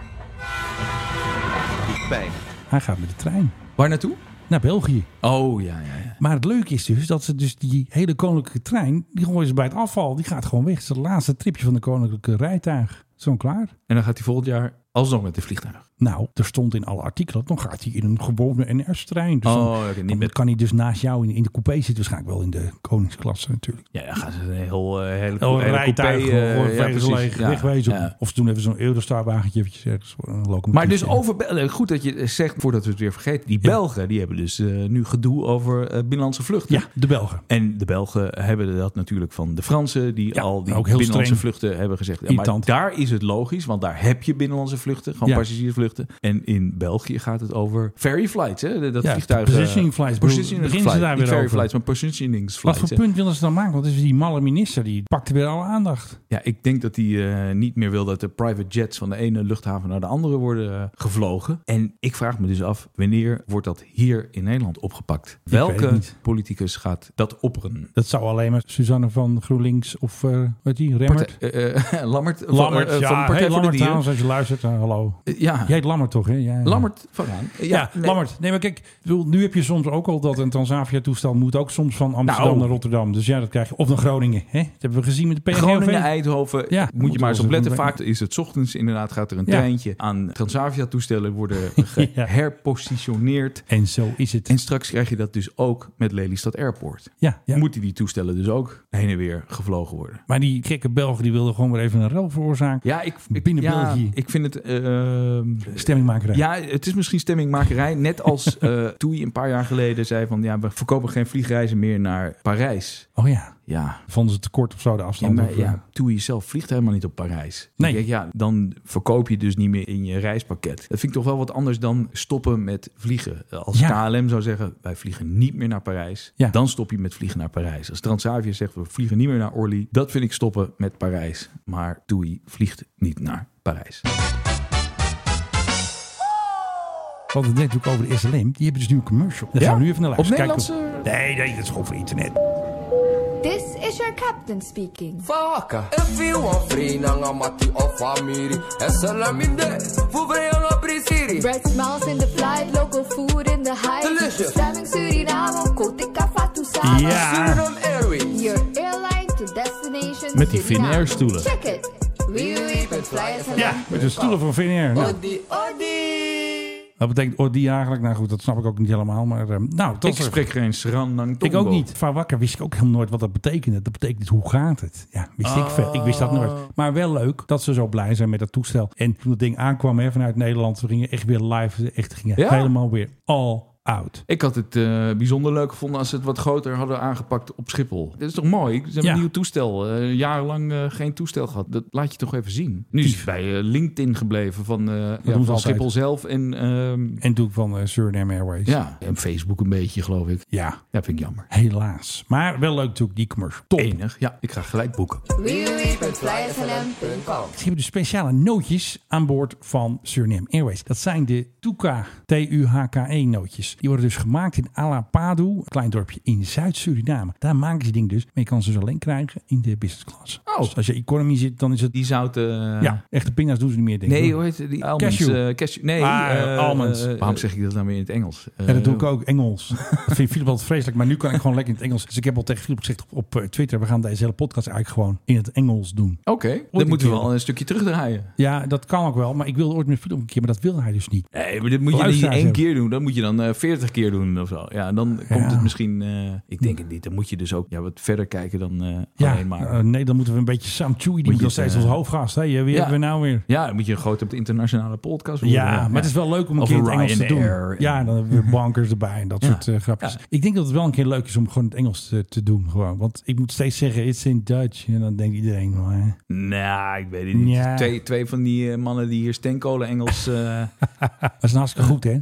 S8: Pijn.
S6: Hij gaat met de trein
S7: Waar naartoe?
S6: naar België.
S7: Oh, ja, ja, ja.
S6: Maar het leuke is dus dat ze dus die hele koninklijke trein, die gooien ze bij het afval, die gaat gewoon weg. Het is het laatste tripje van de koninklijke rijtuig. Zo klaar.
S7: En dan gaat hij volgend jaar alsnog met de vliegtuig.
S6: Nou, er stond in alle artikelen, dan gaat hij in een gewone NS-trein. Dus dan,
S7: Oh, oké, niet
S6: dan
S7: met-
S6: kan hij dus naast jou in, in de coupé zitten. Waarschijnlijk wel in de koningsklasse natuurlijk.
S7: Ja, dan gaan ze een heel, eh, hele,
S6: Een
S7: hele
S6: Oh, rijtuig,
S7: coupé, eh,
S6: gewoon
S7: ja,
S6: vegen ze
S7: precies.
S6: leeg,
S7: Ja,
S6: wegwezen.
S7: ja.
S6: Of ze doen even zo'n Eurostar-wagentje eventjes ergens voor een locomotief.
S7: Maar dus
S6: Ja.
S7: over Bel- eh, goed dat je het zegt voordat we het weer vergeten. Die Belgen die hebben dus eh, nu gedoe over eh, binnenlandse vluchten.
S6: Ja, de Belgen.
S7: En de Belgen hebben dat natuurlijk van de Fransen, die
S6: Ja,
S7: al die
S6: ook heel
S7: binnenlandse
S6: streng.
S7: vluchten hebben gezegd. Ja, maar
S6: Irritant.
S7: daar is het logisch, want daar heb je binnenlandse vluchten, gewoon
S6: Ja.
S7: passagiersvluchten. En in België gaat het over ferry flights, hè? dat- dat
S6: Ja,
S7: vliegtuig.
S6: positioning flights. Bedoel,
S7: Positioning
S6: beginnen ze
S7: flights,
S6: daar
S7: niet
S6: weer
S7: ferry
S6: over?
S7: flights, maar positioning
S6: Wat
S7: flights.
S6: voor
S7: hè.
S6: punt willen ze dan maken? Want het is die malle minister, die pakte weer alle aandacht.
S7: Ja, ik denk dat hij eh, niet meer wil dat de private jets van de ene luchthaven naar de andere worden eh, gevlogen. En ik vraag me dus af, wanneer wordt dat hier in Nederland opgepakt?
S6: weet het
S7: Welke
S6: niet.
S7: politicus gaat dat opperen?
S6: Dat zou alleen maar Suzanne van GroenLinks of, eh wat die, Remmert?
S7: Partij- eh, [LAUGHS] eh, Lammert, van,
S6: Lammert,
S7: eh,
S6: ja.
S7: van de Partij
S6: hey,
S7: voor de
S6: Lammert
S7: Dieren.
S6: trouwens, als je luistert, eh, hallo.
S7: Eh, ja,
S6: Jij heet Lammert toch, hè? Ja, ja.
S7: Lammert vooraan. Eh,
S6: Ja,
S7: nee.
S6: Lammert. Nee, maar kijk, ik bedoel, nu heb je soms ook al dat een Transavia-toestel moet ook soms van Amsterdam
S7: Nou.
S6: naar Rotterdam. Dus ja, dat krijg je. Of naar Groningen. Hè? Dat hebben we gezien met de PGV.
S7: Groningen, eh. Eindhoven,
S6: Ja,
S7: moet je
S6: moeten we
S7: maar eens
S6: ons
S7: op letten.
S6: even
S7: Vaak is het 's ochtends inderdaad, gaat er een
S6: Ja.
S7: treintje aan Transavia-toestellen
S6: [LAUGHS]
S7: worden geherpositioneerd.
S6: En zo is het.
S7: En straks krijg je dat dus ook met Lelystad Airport.
S6: Ja, ja.
S7: moeten die toestellen dus ook heen en weer gevlogen worden.
S6: Maar die gekke Belgen die wilden gewoon weer even een rel veroorzaken.
S7: Ja, ik, ik,
S6: Binnen
S7: ja,
S6: België.
S7: ik vind het... ehm,
S6: Stemmingmakerij.
S7: ja, het is misschien stemmingmakerij.
S6: [LAUGHS]
S7: Net als eh Toei een paar jaar geleden zei van... ja, we verkopen geen vliegreizen meer naar Parijs.
S6: Oh ja.
S7: Ja,
S6: Vonden ze tekort of zo de
S7: ja
S6: afstand?
S7: maar
S6: of, eh,
S7: ja, Toei zelf vliegt helemaal niet op Parijs.
S6: Nee.
S7: Ik denk, ja, dan verkoop je dus niet meer in je reispakket. Dat vind ik toch wel wat anders dan stoppen met vliegen. Als
S6: Ja.
S7: KLM zou zeggen, wij vliegen niet meer naar Parijs...
S6: Ja.
S7: dan stop je met vliegen naar Parijs. Als Transavia zegt, we vliegen niet meer naar Orly... dat vind ik stoppen met Parijs. Maar TUI vliegt niet naar Parijs.
S6: eh, Want het net ook over de SLM. Die hebben dus nu een commercial. Daar gaan we nu even naar
S7: Op
S6: luisteren. Kijken
S7: Nederlandse...
S6: of- Nee, nee, dat is gewoon voor internet.
S1: This is your captain speaking.
S9: faca. If you want free, nanga mati of family. Esalaminde, fuvreyang aprisiri.
S1: Bright smiles in the flight, local food in the high.
S9: Delicious.
S1: Stemming Suriname, Kotika Fatu
S6: Ja.
S9: Suriname Airways.
S1: Your airline to destination
S6: Met die
S1: Suriname.
S6: Finnair stoelen.
S1: Check it. We will even fly as a
S6: Ja, met de stoelen van Finnair.
S7: Oh.
S6: Nou,
S9: Odi, odi.
S6: dat betekent oh, die eigenlijk. Nou goed, dat snap ik ook niet helemaal. Maar eh, nou, tot
S7: Ik spreek geen Sranang
S6: Ik ook niet. Van wakker wist ik ook helemaal nooit wat dat betekende. Dat betekent hoe gaat het? Ja, wist ik veel. Ik wist dat nooit. Maar wel leuk dat ze zo blij zijn met dat toestel. En toen dat ding aankwam hè, vanuit Nederland, we gingen echt weer live. Echt gingen
S7: Ja?
S6: helemaal weer all out.
S7: Ik had het eh, bijzonder leuk gevonden als ze het wat groter hadden aangepakt op Schiphol. Dit is toch mooi? Ze hebben
S6: Ja.
S7: een nieuw toestel. Eh, jarenlang eh, geen toestel gehad. Dat laat je toch even zien. Nu is het bij eh, LinkedIn gebleven van, eh,
S6: doen ze
S7: ja, van
S6: altijd.
S7: Schiphol zelf en, ehm,
S6: En toen van eh, Suriname Airways.
S7: ja, en Facebook een beetje, geloof ik.
S6: Ja,
S7: Ja, vind ik jammer.
S6: helaas. Maar wel leuk natuurlijk, die commercial. Top.
S7: Enig. Ja, ik ga gelijk boeken.
S1: www.flyeslm.com
S6: Ze hebben dus speciale nootjes aan boord van Suriname Airways. Dat zijn de Tuka T-U-H-K-E nootjes. Die worden dus gemaakt in Alapadu, een klein dorpje in Zuid-Suriname. Daar maken ze die ding dus. Maar je kan ze dus alleen krijgen in de business class.
S7: Oh.
S6: Dus als je economy zit, dan is het...
S7: Die zouten...
S6: Ja, echte pinda's doen ze niet meer, denk ik.
S7: Nee, hoe heet die? Almonds.
S6: Cashew.
S7: eh, cashew. Nee,
S6: Ah,
S7: eh,
S6: almonds.
S7: eh, waarom zeg ik dat nou weer in het Engels?
S6: En dat doe ik ook,
S7: [LAUGHS]
S6: Engels. Dat vind Philip altijd vreselijk, maar nu kan ik gewoon lekker in het Engels. Dus ik heb al tegen Philip gezegd op, op eh, Twitter, we gaan deze hele podcast eigenlijk gewoon in het Engels doen.
S7: Oké,
S6: een
S7: dan moeten we
S6: keer.
S7: wel een stukje terugdraaien.
S6: Ja, dat kan ook wel, maar ik wilde ooit met Philip een keer, maar dat wilde hij dus niet.
S7: Nee, maar dit moet je niet
S6: Luisteraars
S7: één
S6: hebben.
S7: keer doen. Dat moet je dan eh, veertig keer doen of zo. Ja, dan komt het misschien... eh, ik denk het niet. Dan moet je dus ook ja, wat verder kijken dan eh
S6: Ja,
S7: alleen maar...
S6: eh, nee, dan moeten we een beetje Sam Chewie, die
S7: Moet
S6: moet
S7: je
S6: nog
S7: het,
S6: steeds
S7: eh,
S6: als hoofdgast. Hè? Ja, wie
S7: Ja.
S6: hebben we nou weer?
S7: ja, dan moet je een grote internationale podcast worden.
S6: Ja, maar het is wel leuk om een
S7: Of
S6: keer in het Engels te doen.
S7: Ryanair.
S6: Ja, dan hebben we bankers erbij en dat
S7: Ja.
S6: soort eh, grapjes.
S7: Ja.
S6: Ik denk dat het wel een keer leuk is om gewoon het Engels te, te doen. Gewoon. Want ik moet steeds zeggen, it's in Dutch. En dan denkt iedereen, nou, hè.
S7: Nou, ik weet het niet.
S6: Ja.
S7: Twee, twee van die eh, mannen die hier steenkolen Engels... eh [LAUGHS]
S6: dat is hartstikke goed, hè?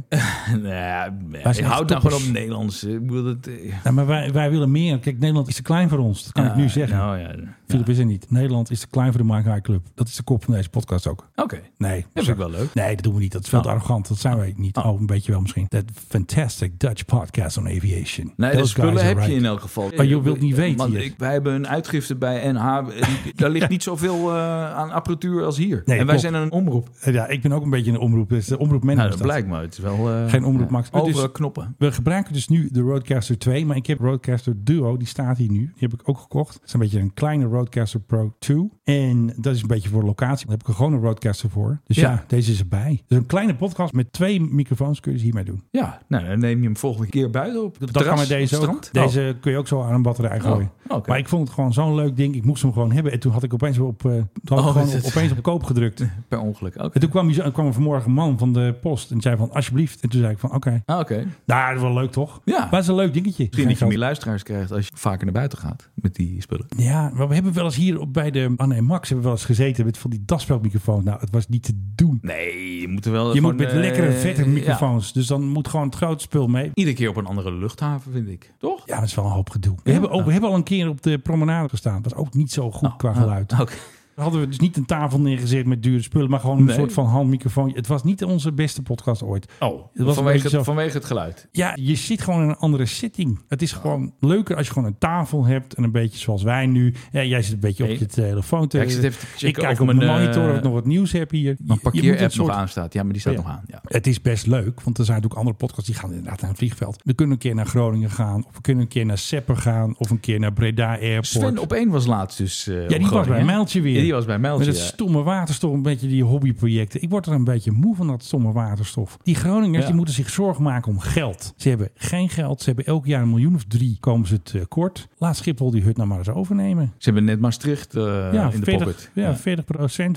S7: nou,
S6: echt
S7: houd nou
S6: toppers.
S7: gewoon op Nederlands. Ik bedoel, dat... eh,
S6: Ja, maar wij, wij willen meer. Kijk, Nederland is te klein voor ons. Dat kan ik nu zeggen.
S7: Nou, ja. ja.
S6: Philip is er niet. Nederland is te klein voor de Mark High Club. Dat is de kop van deze podcast ook.
S7: Oké,
S6: Nee,
S7: dat vind ik wel leuk. Ah.
S6: Nee, dat doen we niet. Dat is veel te
S7: Oh.
S6: arrogant. Dat zijn wij niet. Oh. een beetje wel misschien. That fantastic Dutch podcast on aviation.
S7: Nee,
S6: Those
S7: de
S6: guys
S7: spullen
S6: are
S7: heb je
S6: right.
S7: in elk geval. Eh,
S6: Maar je wilt niet weten
S7: Want
S6: hier.
S7: ik- wij hebben een uitgifte bij NH. Die- Daar
S6: [LAUGHS]
S7: ligt niet zoveel eh, aan apparatuur als hier. en wij
S6: klopt. Eh,
S7: zijn een omroep.
S6: Ja, ik ben ook een beetje in de omroep. Dus de omroep
S7: Nou,
S6: manager.
S7: dat blijkt maar. Het is wel... eh,
S6: Geen omroep, Max.
S7: Overal wel knoppen.
S6: We gebruiken dus nu de Roadcaster 2, maar ik heb Roadcaster Duo, die staat hier nu. Die heb ik ook gekocht. Het is een beetje een kleine Roadcaster Pro 2. En dat is een beetje voor locatie. Daar heb ik er gewoon een Roadcaster voor. Dus ja,
S7: Ja.
S6: deze is erbij. Dus een kleine podcast met twee microfoons kun je dus hiermee doen.
S7: Ja, nou, dan neem je hem volgende keer buiten op.
S6: Dat kan met deze ook. Deze kun je ook zo aan een batterij gooien.
S7: Oh, oké.
S6: Maar ik vond het gewoon zo'n leuk ding. Ik moest hem gewoon hebben. En toen had ik opeens wel op, eh, toen had ik
S7: Oh,
S6: gewoon
S7: dat-
S6: op- opeens op koop gedrukt.
S7: Oh, Per ongeluk. Oké.
S6: En toen kwam, hij zo- kwam er vanmorgen een man van de post. En die zei van, alsjeblieft. En toen zei ik van, oké.
S7: Ah, oké.
S6: Nou, dat is wel leuk toch?
S7: Ja.
S6: Maar het is een leuk dingetje.
S7: Misschien dat je
S6: Geen
S7: meer luisteraars krijgt als je vaker naar buiten gaat met die spullen.
S6: Ja, maar we hebben wel eens hier op bij de Anne en Max hebben we wel eens gezeten met van die daspeldmicrofoon. Nou, het was niet te doen.
S7: Nee, je moet er wel...
S6: Je
S7: gewoon,
S6: moet met
S7: eh,
S6: lekkere vette
S7: ja.
S6: microfoons. Dus dan moet gewoon het grote spul mee.
S7: Iedere keer op een andere luchthaven, vind ik. Toch?
S6: Ja, dat is wel een hoop gedoe. We, hebben, ook, we hebben al een keer op de promenade gestaan. Dat was ook niet zo goed
S7: Nou,
S6: qua geluid.
S7: Oké.
S6: Dan hadden we dus niet een tafel neergezet met dure spullen, maar gewoon een
S7: Nee.
S6: soort van handmicrofoon. Het was niet onze beste podcast ooit.
S7: Oh,
S6: was een
S7: vanwege,
S6: beetje
S7: het,
S6: zo-
S7: vanwege het geluid.
S6: Ja, je zit gewoon in een andere setting. Het
S7: Oh.
S6: is gewoon leuker als je gewoon een tafel hebt en een beetje zoals wij nu. Ja, jij zit een beetje
S7: Nee.
S6: op je telefoon te
S7: Ja, ik zit even te checken
S6: Ik kijk
S7: of
S6: op mijn
S7: mijn, eh,
S6: monitor of ik nog wat nieuws heb hier. Je-
S7: Mijn
S6: je moet
S7: parkeerapp
S6: het
S7: nog
S6: soort- Oh
S7: aanstaat. Ja, maar die staat nog aan. Ja.
S6: Het is best leuk, want er zijn natuurlijk andere podcasts die gaan inderdaad naar het vliegveld. We kunnen een keer naar Groningen gaan, of we kunnen een keer naar Sepper gaan, of een keer naar Breda Airport.
S7: Sven op één was laatst dus... eh,
S6: ja,
S7: op
S6: die was
S7: Groningen.
S6: bij Mijltje weer.
S7: Ja, die was bij Mijltje,
S6: Met dat
S7: ja.
S6: stomme waterstof, een beetje die hobbyprojecten. Ik word er een beetje moe van dat stomme waterstof. Die Groningers
S7: Ja.
S6: die moeten zich zorgen maken om geld. Ze hebben geen geld. Ze hebben elk jaar een miljoen of drie komen ze tekort. Laat Schiphol die hut nou maar eens overnemen.
S7: Ze hebben net Maastricht eh, in de
S6: 40,
S7: pocket.
S6: Ja, 40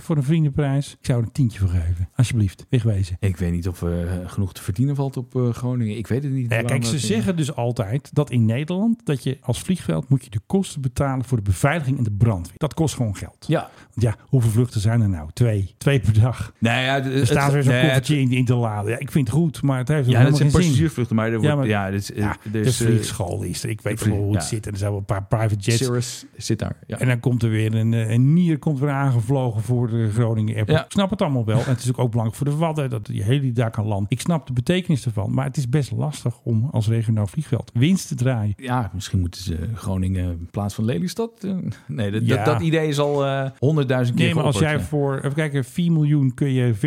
S6: voor een vriendenprijs. Ik zou er een tientje voor geven. Alsjeblieft, wegwezen.
S7: Ik weet niet of er genoeg te verdienen valt op eh, Groningen. Ik weet het niet.
S6: Nou ja,
S7: Waarom
S6: kijk, ze
S7: dat-
S6: zeggen dus altijd dat in Nederland dat je als vliegveld moet je de kosten betalen voor de beveiliging en de brandweer. Dat kost gewoon geld.
S7: Ja.
S6: Want ja, hoeveel vluchten zijn er nou? Twee. Twee per dag.
S7: Nou ja, het-
S6: Er staat
S7: het-
S6: weer zo'n
S7: nee, het-
S6: koffertje in, in te laden. Ja, ik vind het goed, maar het heeft
S7: Ja, dat
S6: helemaal
S7: zijn
S6: geen zin.
S7: passagiersvluchten, maar er wordt,
S6: Ja,
S7: ja,
S6: maar-
S7: dit is,
S6: Ja,
S7: eh,
S6: de
S7: dus, eh,
S6: vliegschool is er. Ik weet
S7: vlie-
S6: wel hoe het
S7: ja.
S6: zit. En er zijn wel een paar private jets.
S7: Cirrus zit daar. Ja.
S6: En dan komt er weer een, eh, een nier komt weer aangevlogen voor de Groningen Airport.
S7: Ja.
S6: Ik snap het allemaal wel. En het is ook, ook belangrijk voor de Wadden dat die hele daar kan landen. Ik snap de betekenis ervan. Maar het is best lastig om als regionaal vliegveld winst te draaien.
S7: ja, misschien moeten ze Groningen in plaats van Lelystad. eh, Nee, dat,
S6: Ja.
S7: dat, dat idee is al eh, honderdduizend keer
S6: Nee, maar als jij
S7: geopperd,
S6: voor, even kijken, 4 miljoen kun je 40%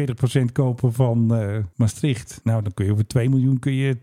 S6: kopen van eh, Maastricht. Nou, dan kun je voor 2 miljoen kun je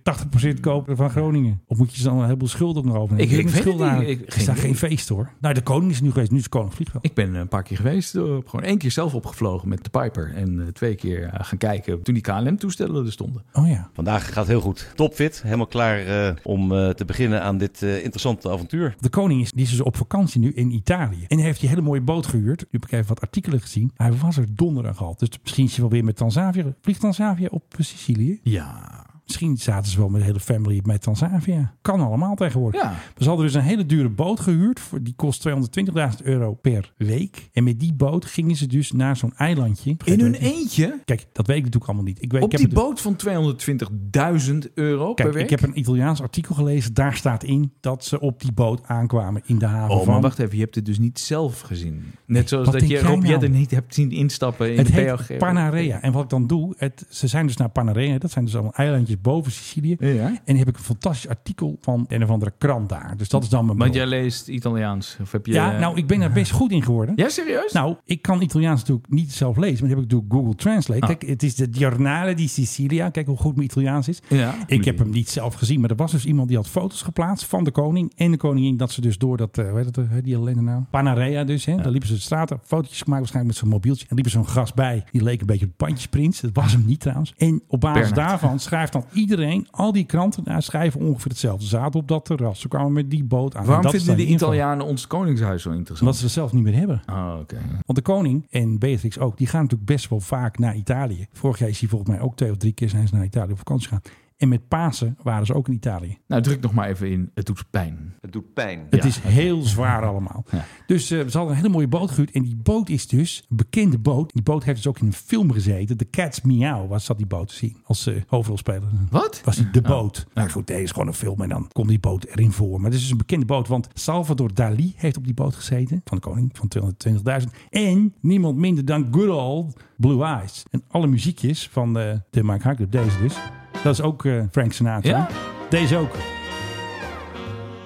S6: 80% kopen van Groningen. Of moet je ze dan een heleboel schulden ook nog overnemen?
S7: Ik- ik weet het
S6: Schulden
S7: niet.
S6: aan-
S7: Ik-
S6: Er
S7: geen
S6: staat
S7: idee.
S6: geen feest hoor. Nou, de koning is er nu geweest. Nu is de koning vliegveld.
S7: Ik ben een paar keer geweest, eh, op gewoon één keer zelf opgevlogen met de Piper. En eh, twee keer eh, gaan kijken toen die KLM-toestellen er stonden.
S6: Oh ja.
S10: Vandaag gaat heel goed. Topfit, helemaal klaar eh, om eh, te beginnen aan dit eh, interessante avontuur.
S6: De koning is, die is dus op vakantie nu in Italië. En hij heeft die hele mooie boot gehuurd. Nu heb ik even wat artikelen gezien. Hij was er donderdag al. Dus misschien is hij wel weer met Tanzavia. Vliegt Tanzavia op eh, Sicilië?
S7: Ja.
S6: Misschien zaten ze wel met de hele family met Tanzavia. Kan allemaal tegenwoordig.
S7: Ja.
S6: Ze hadden dus een hele dure boot gehuurd. Voor, die kost 220.000 euro per week. En met die boot gingen ze dus naar zo'n eilandje.
S7: In hun eentje?
S6: Kijk, dat weet ik natuurlijk allemaal niet. Ik weet,
S7: Op
S6: ik heb
S7: die
S6: het-
S7: boot van 220.000 euro
S6: Kijk,
S7: per week?
S6: ik heb een Italiaans artikel gelezen. Daar staat in dat ze op die boot aankwamen in de haven
S7: Oh,
S6: van...
S7: maar wacht even, je hebt het dus niet zelf gezien. Net zoals
S6: Wat
S7: dat
S6: denk
S7: je
S6: jij
S7: Rob
S6: nou?
S7: Jetten niet hebt zien instappen in
S6: het
S7: de
S6: heet
S7: PLG.
S6: Panarea. En wat ik dan doe, het, ze zijn dus naar Panarea. Dat zijn dus allemaal eilandjes boven Sicilië.
S7: Ja.
S6: En die heb ik een fantastisch artikel van een of andere krant daar. Dus dat is dan mijn
S7: Want
S6: bron.
S7: jij leest Italiaans. Of heb je,
S6: Ja, nou, ik ben daar best goed in geworden.
S7: Ja, serieus?
S6: Nou, ik kan Italiaans natuurlijk niet zelf lezen, maar dat heb ik door Google Translate.
S7: Ah.
S6: Kijk, het is de Giornale di Sicilia. Kijk hoe goed mijn Italiaans is.
S7: Ja.
S6: Ik heb hem niet zelf gezien, maar er was dus iemand die had foto's geplaatst van de koning en de koningin. Dat ze dus door dat, eh, hoe heet dat, eh, die ellende nou? Panarea dus, hè. Daar liepen ze de straat op, fotootjes gemaakt waarschijnlijk met zo'n mobieltje. En liepen zo'n gast bij, die leek een beetje op Bandjesprins. Dat was hem niet trouwens. En op basis
S7: Bernard.
S6: daarvan schrijft dan iedereen, al die kranten daar schrijven ongeveer hetzelfde. Ze zaten op dat terras, ze kwamen met die boot aan. En
S7: Waarom
S6: dat is
S7: vinden
S6: dan
S7: de
S6: de info.
S7: Italianen ons koningshuis zo
S6: Omdat
S7: interessant?
S6: ze het zelf niet meer hebben.
S7: Oh, oké.
S6: Want de koning en Beatrix ook, die gaan natuurlijk best wel vaak naar Italië. Vorig jaar is hij volgens mij ook twee of drie keer zijn ze naar Italië op vakantie gegaan. En met Pasen waren ze ook in Italië.
S7: Nou, druk nog maar even in. Het doet pijn.
S10: Het doet pijn.
S6: Het is heel zwaar allemaal. Dus eh, ze hadden een hele mooie boot gehuurd. En die boot is dus een bekende boot. Die boot heeft dus ook in een film gezeten. The Cat's Meow was zat die boot te zien als eh, hoofdrolspeler.
S7: Wat?
S6: Was die de boot? Nou goed, deze is gewoon een film en dan komt die boot erin voor. Maar het is dus een bekende boot, want Salvador Dali heeft op die boot gezeten. Van de koning van 220.000. En niemand minder dan good old Blue Eyes. En alle muziekjes van eh, de Mike High Club, deze dus. Dat is ook eh, Frank Sinatra.
S7: Ja?
S6: Deze ook.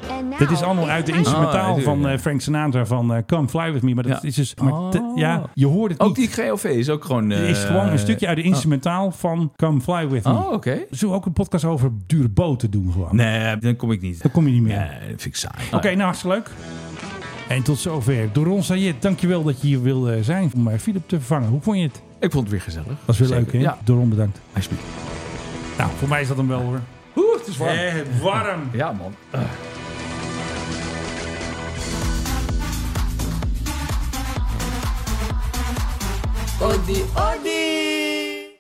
S1: And
S6: Dit is allemaal uit de instrumentaal
S7: Ah, ja,
S6: van
S7: ja.
S6: eh, Frank Sinatra van eh, Come Fly With Me. Maar dat
S7: Ja. Oh.
S6: is dus... Maar te- ja, je hoort het
S7: Ook
S6: niet.
S7: die GOV is ook gewoon...
S6: Het is
S7: eh,
S6: gewoon een stukje uit de instrumentaal van Come Fly With Me.
S7: Oh, oké.
S6: Zullen we ook een podcast over dure boten doen gewoon?
S7: Nee, dan kom ik niet.
S6: Dan kom je niet meer.
S7: Nee, dat vind ik saai.
S6: Oké, nou hartstikke leuk. En tot zover. Doron Sayed, dankjewel dat je hier wilde zijn om eh, Philip te vervangen. Hoe vond je het?
S7: Ik vond het weer gezellig.
S6: Dat is weer
S7: Zeker.
S6: leuk, hè?
S7: Ja,
S6: Doron, bedankt.
S7: alsjeblieft.
S6: Nou, voor mij is dat hem wel, hoor.
S7: Oeh, het is warm.
S6: Eh, warm.
S7: Ja, man.
S9: Odi, odi.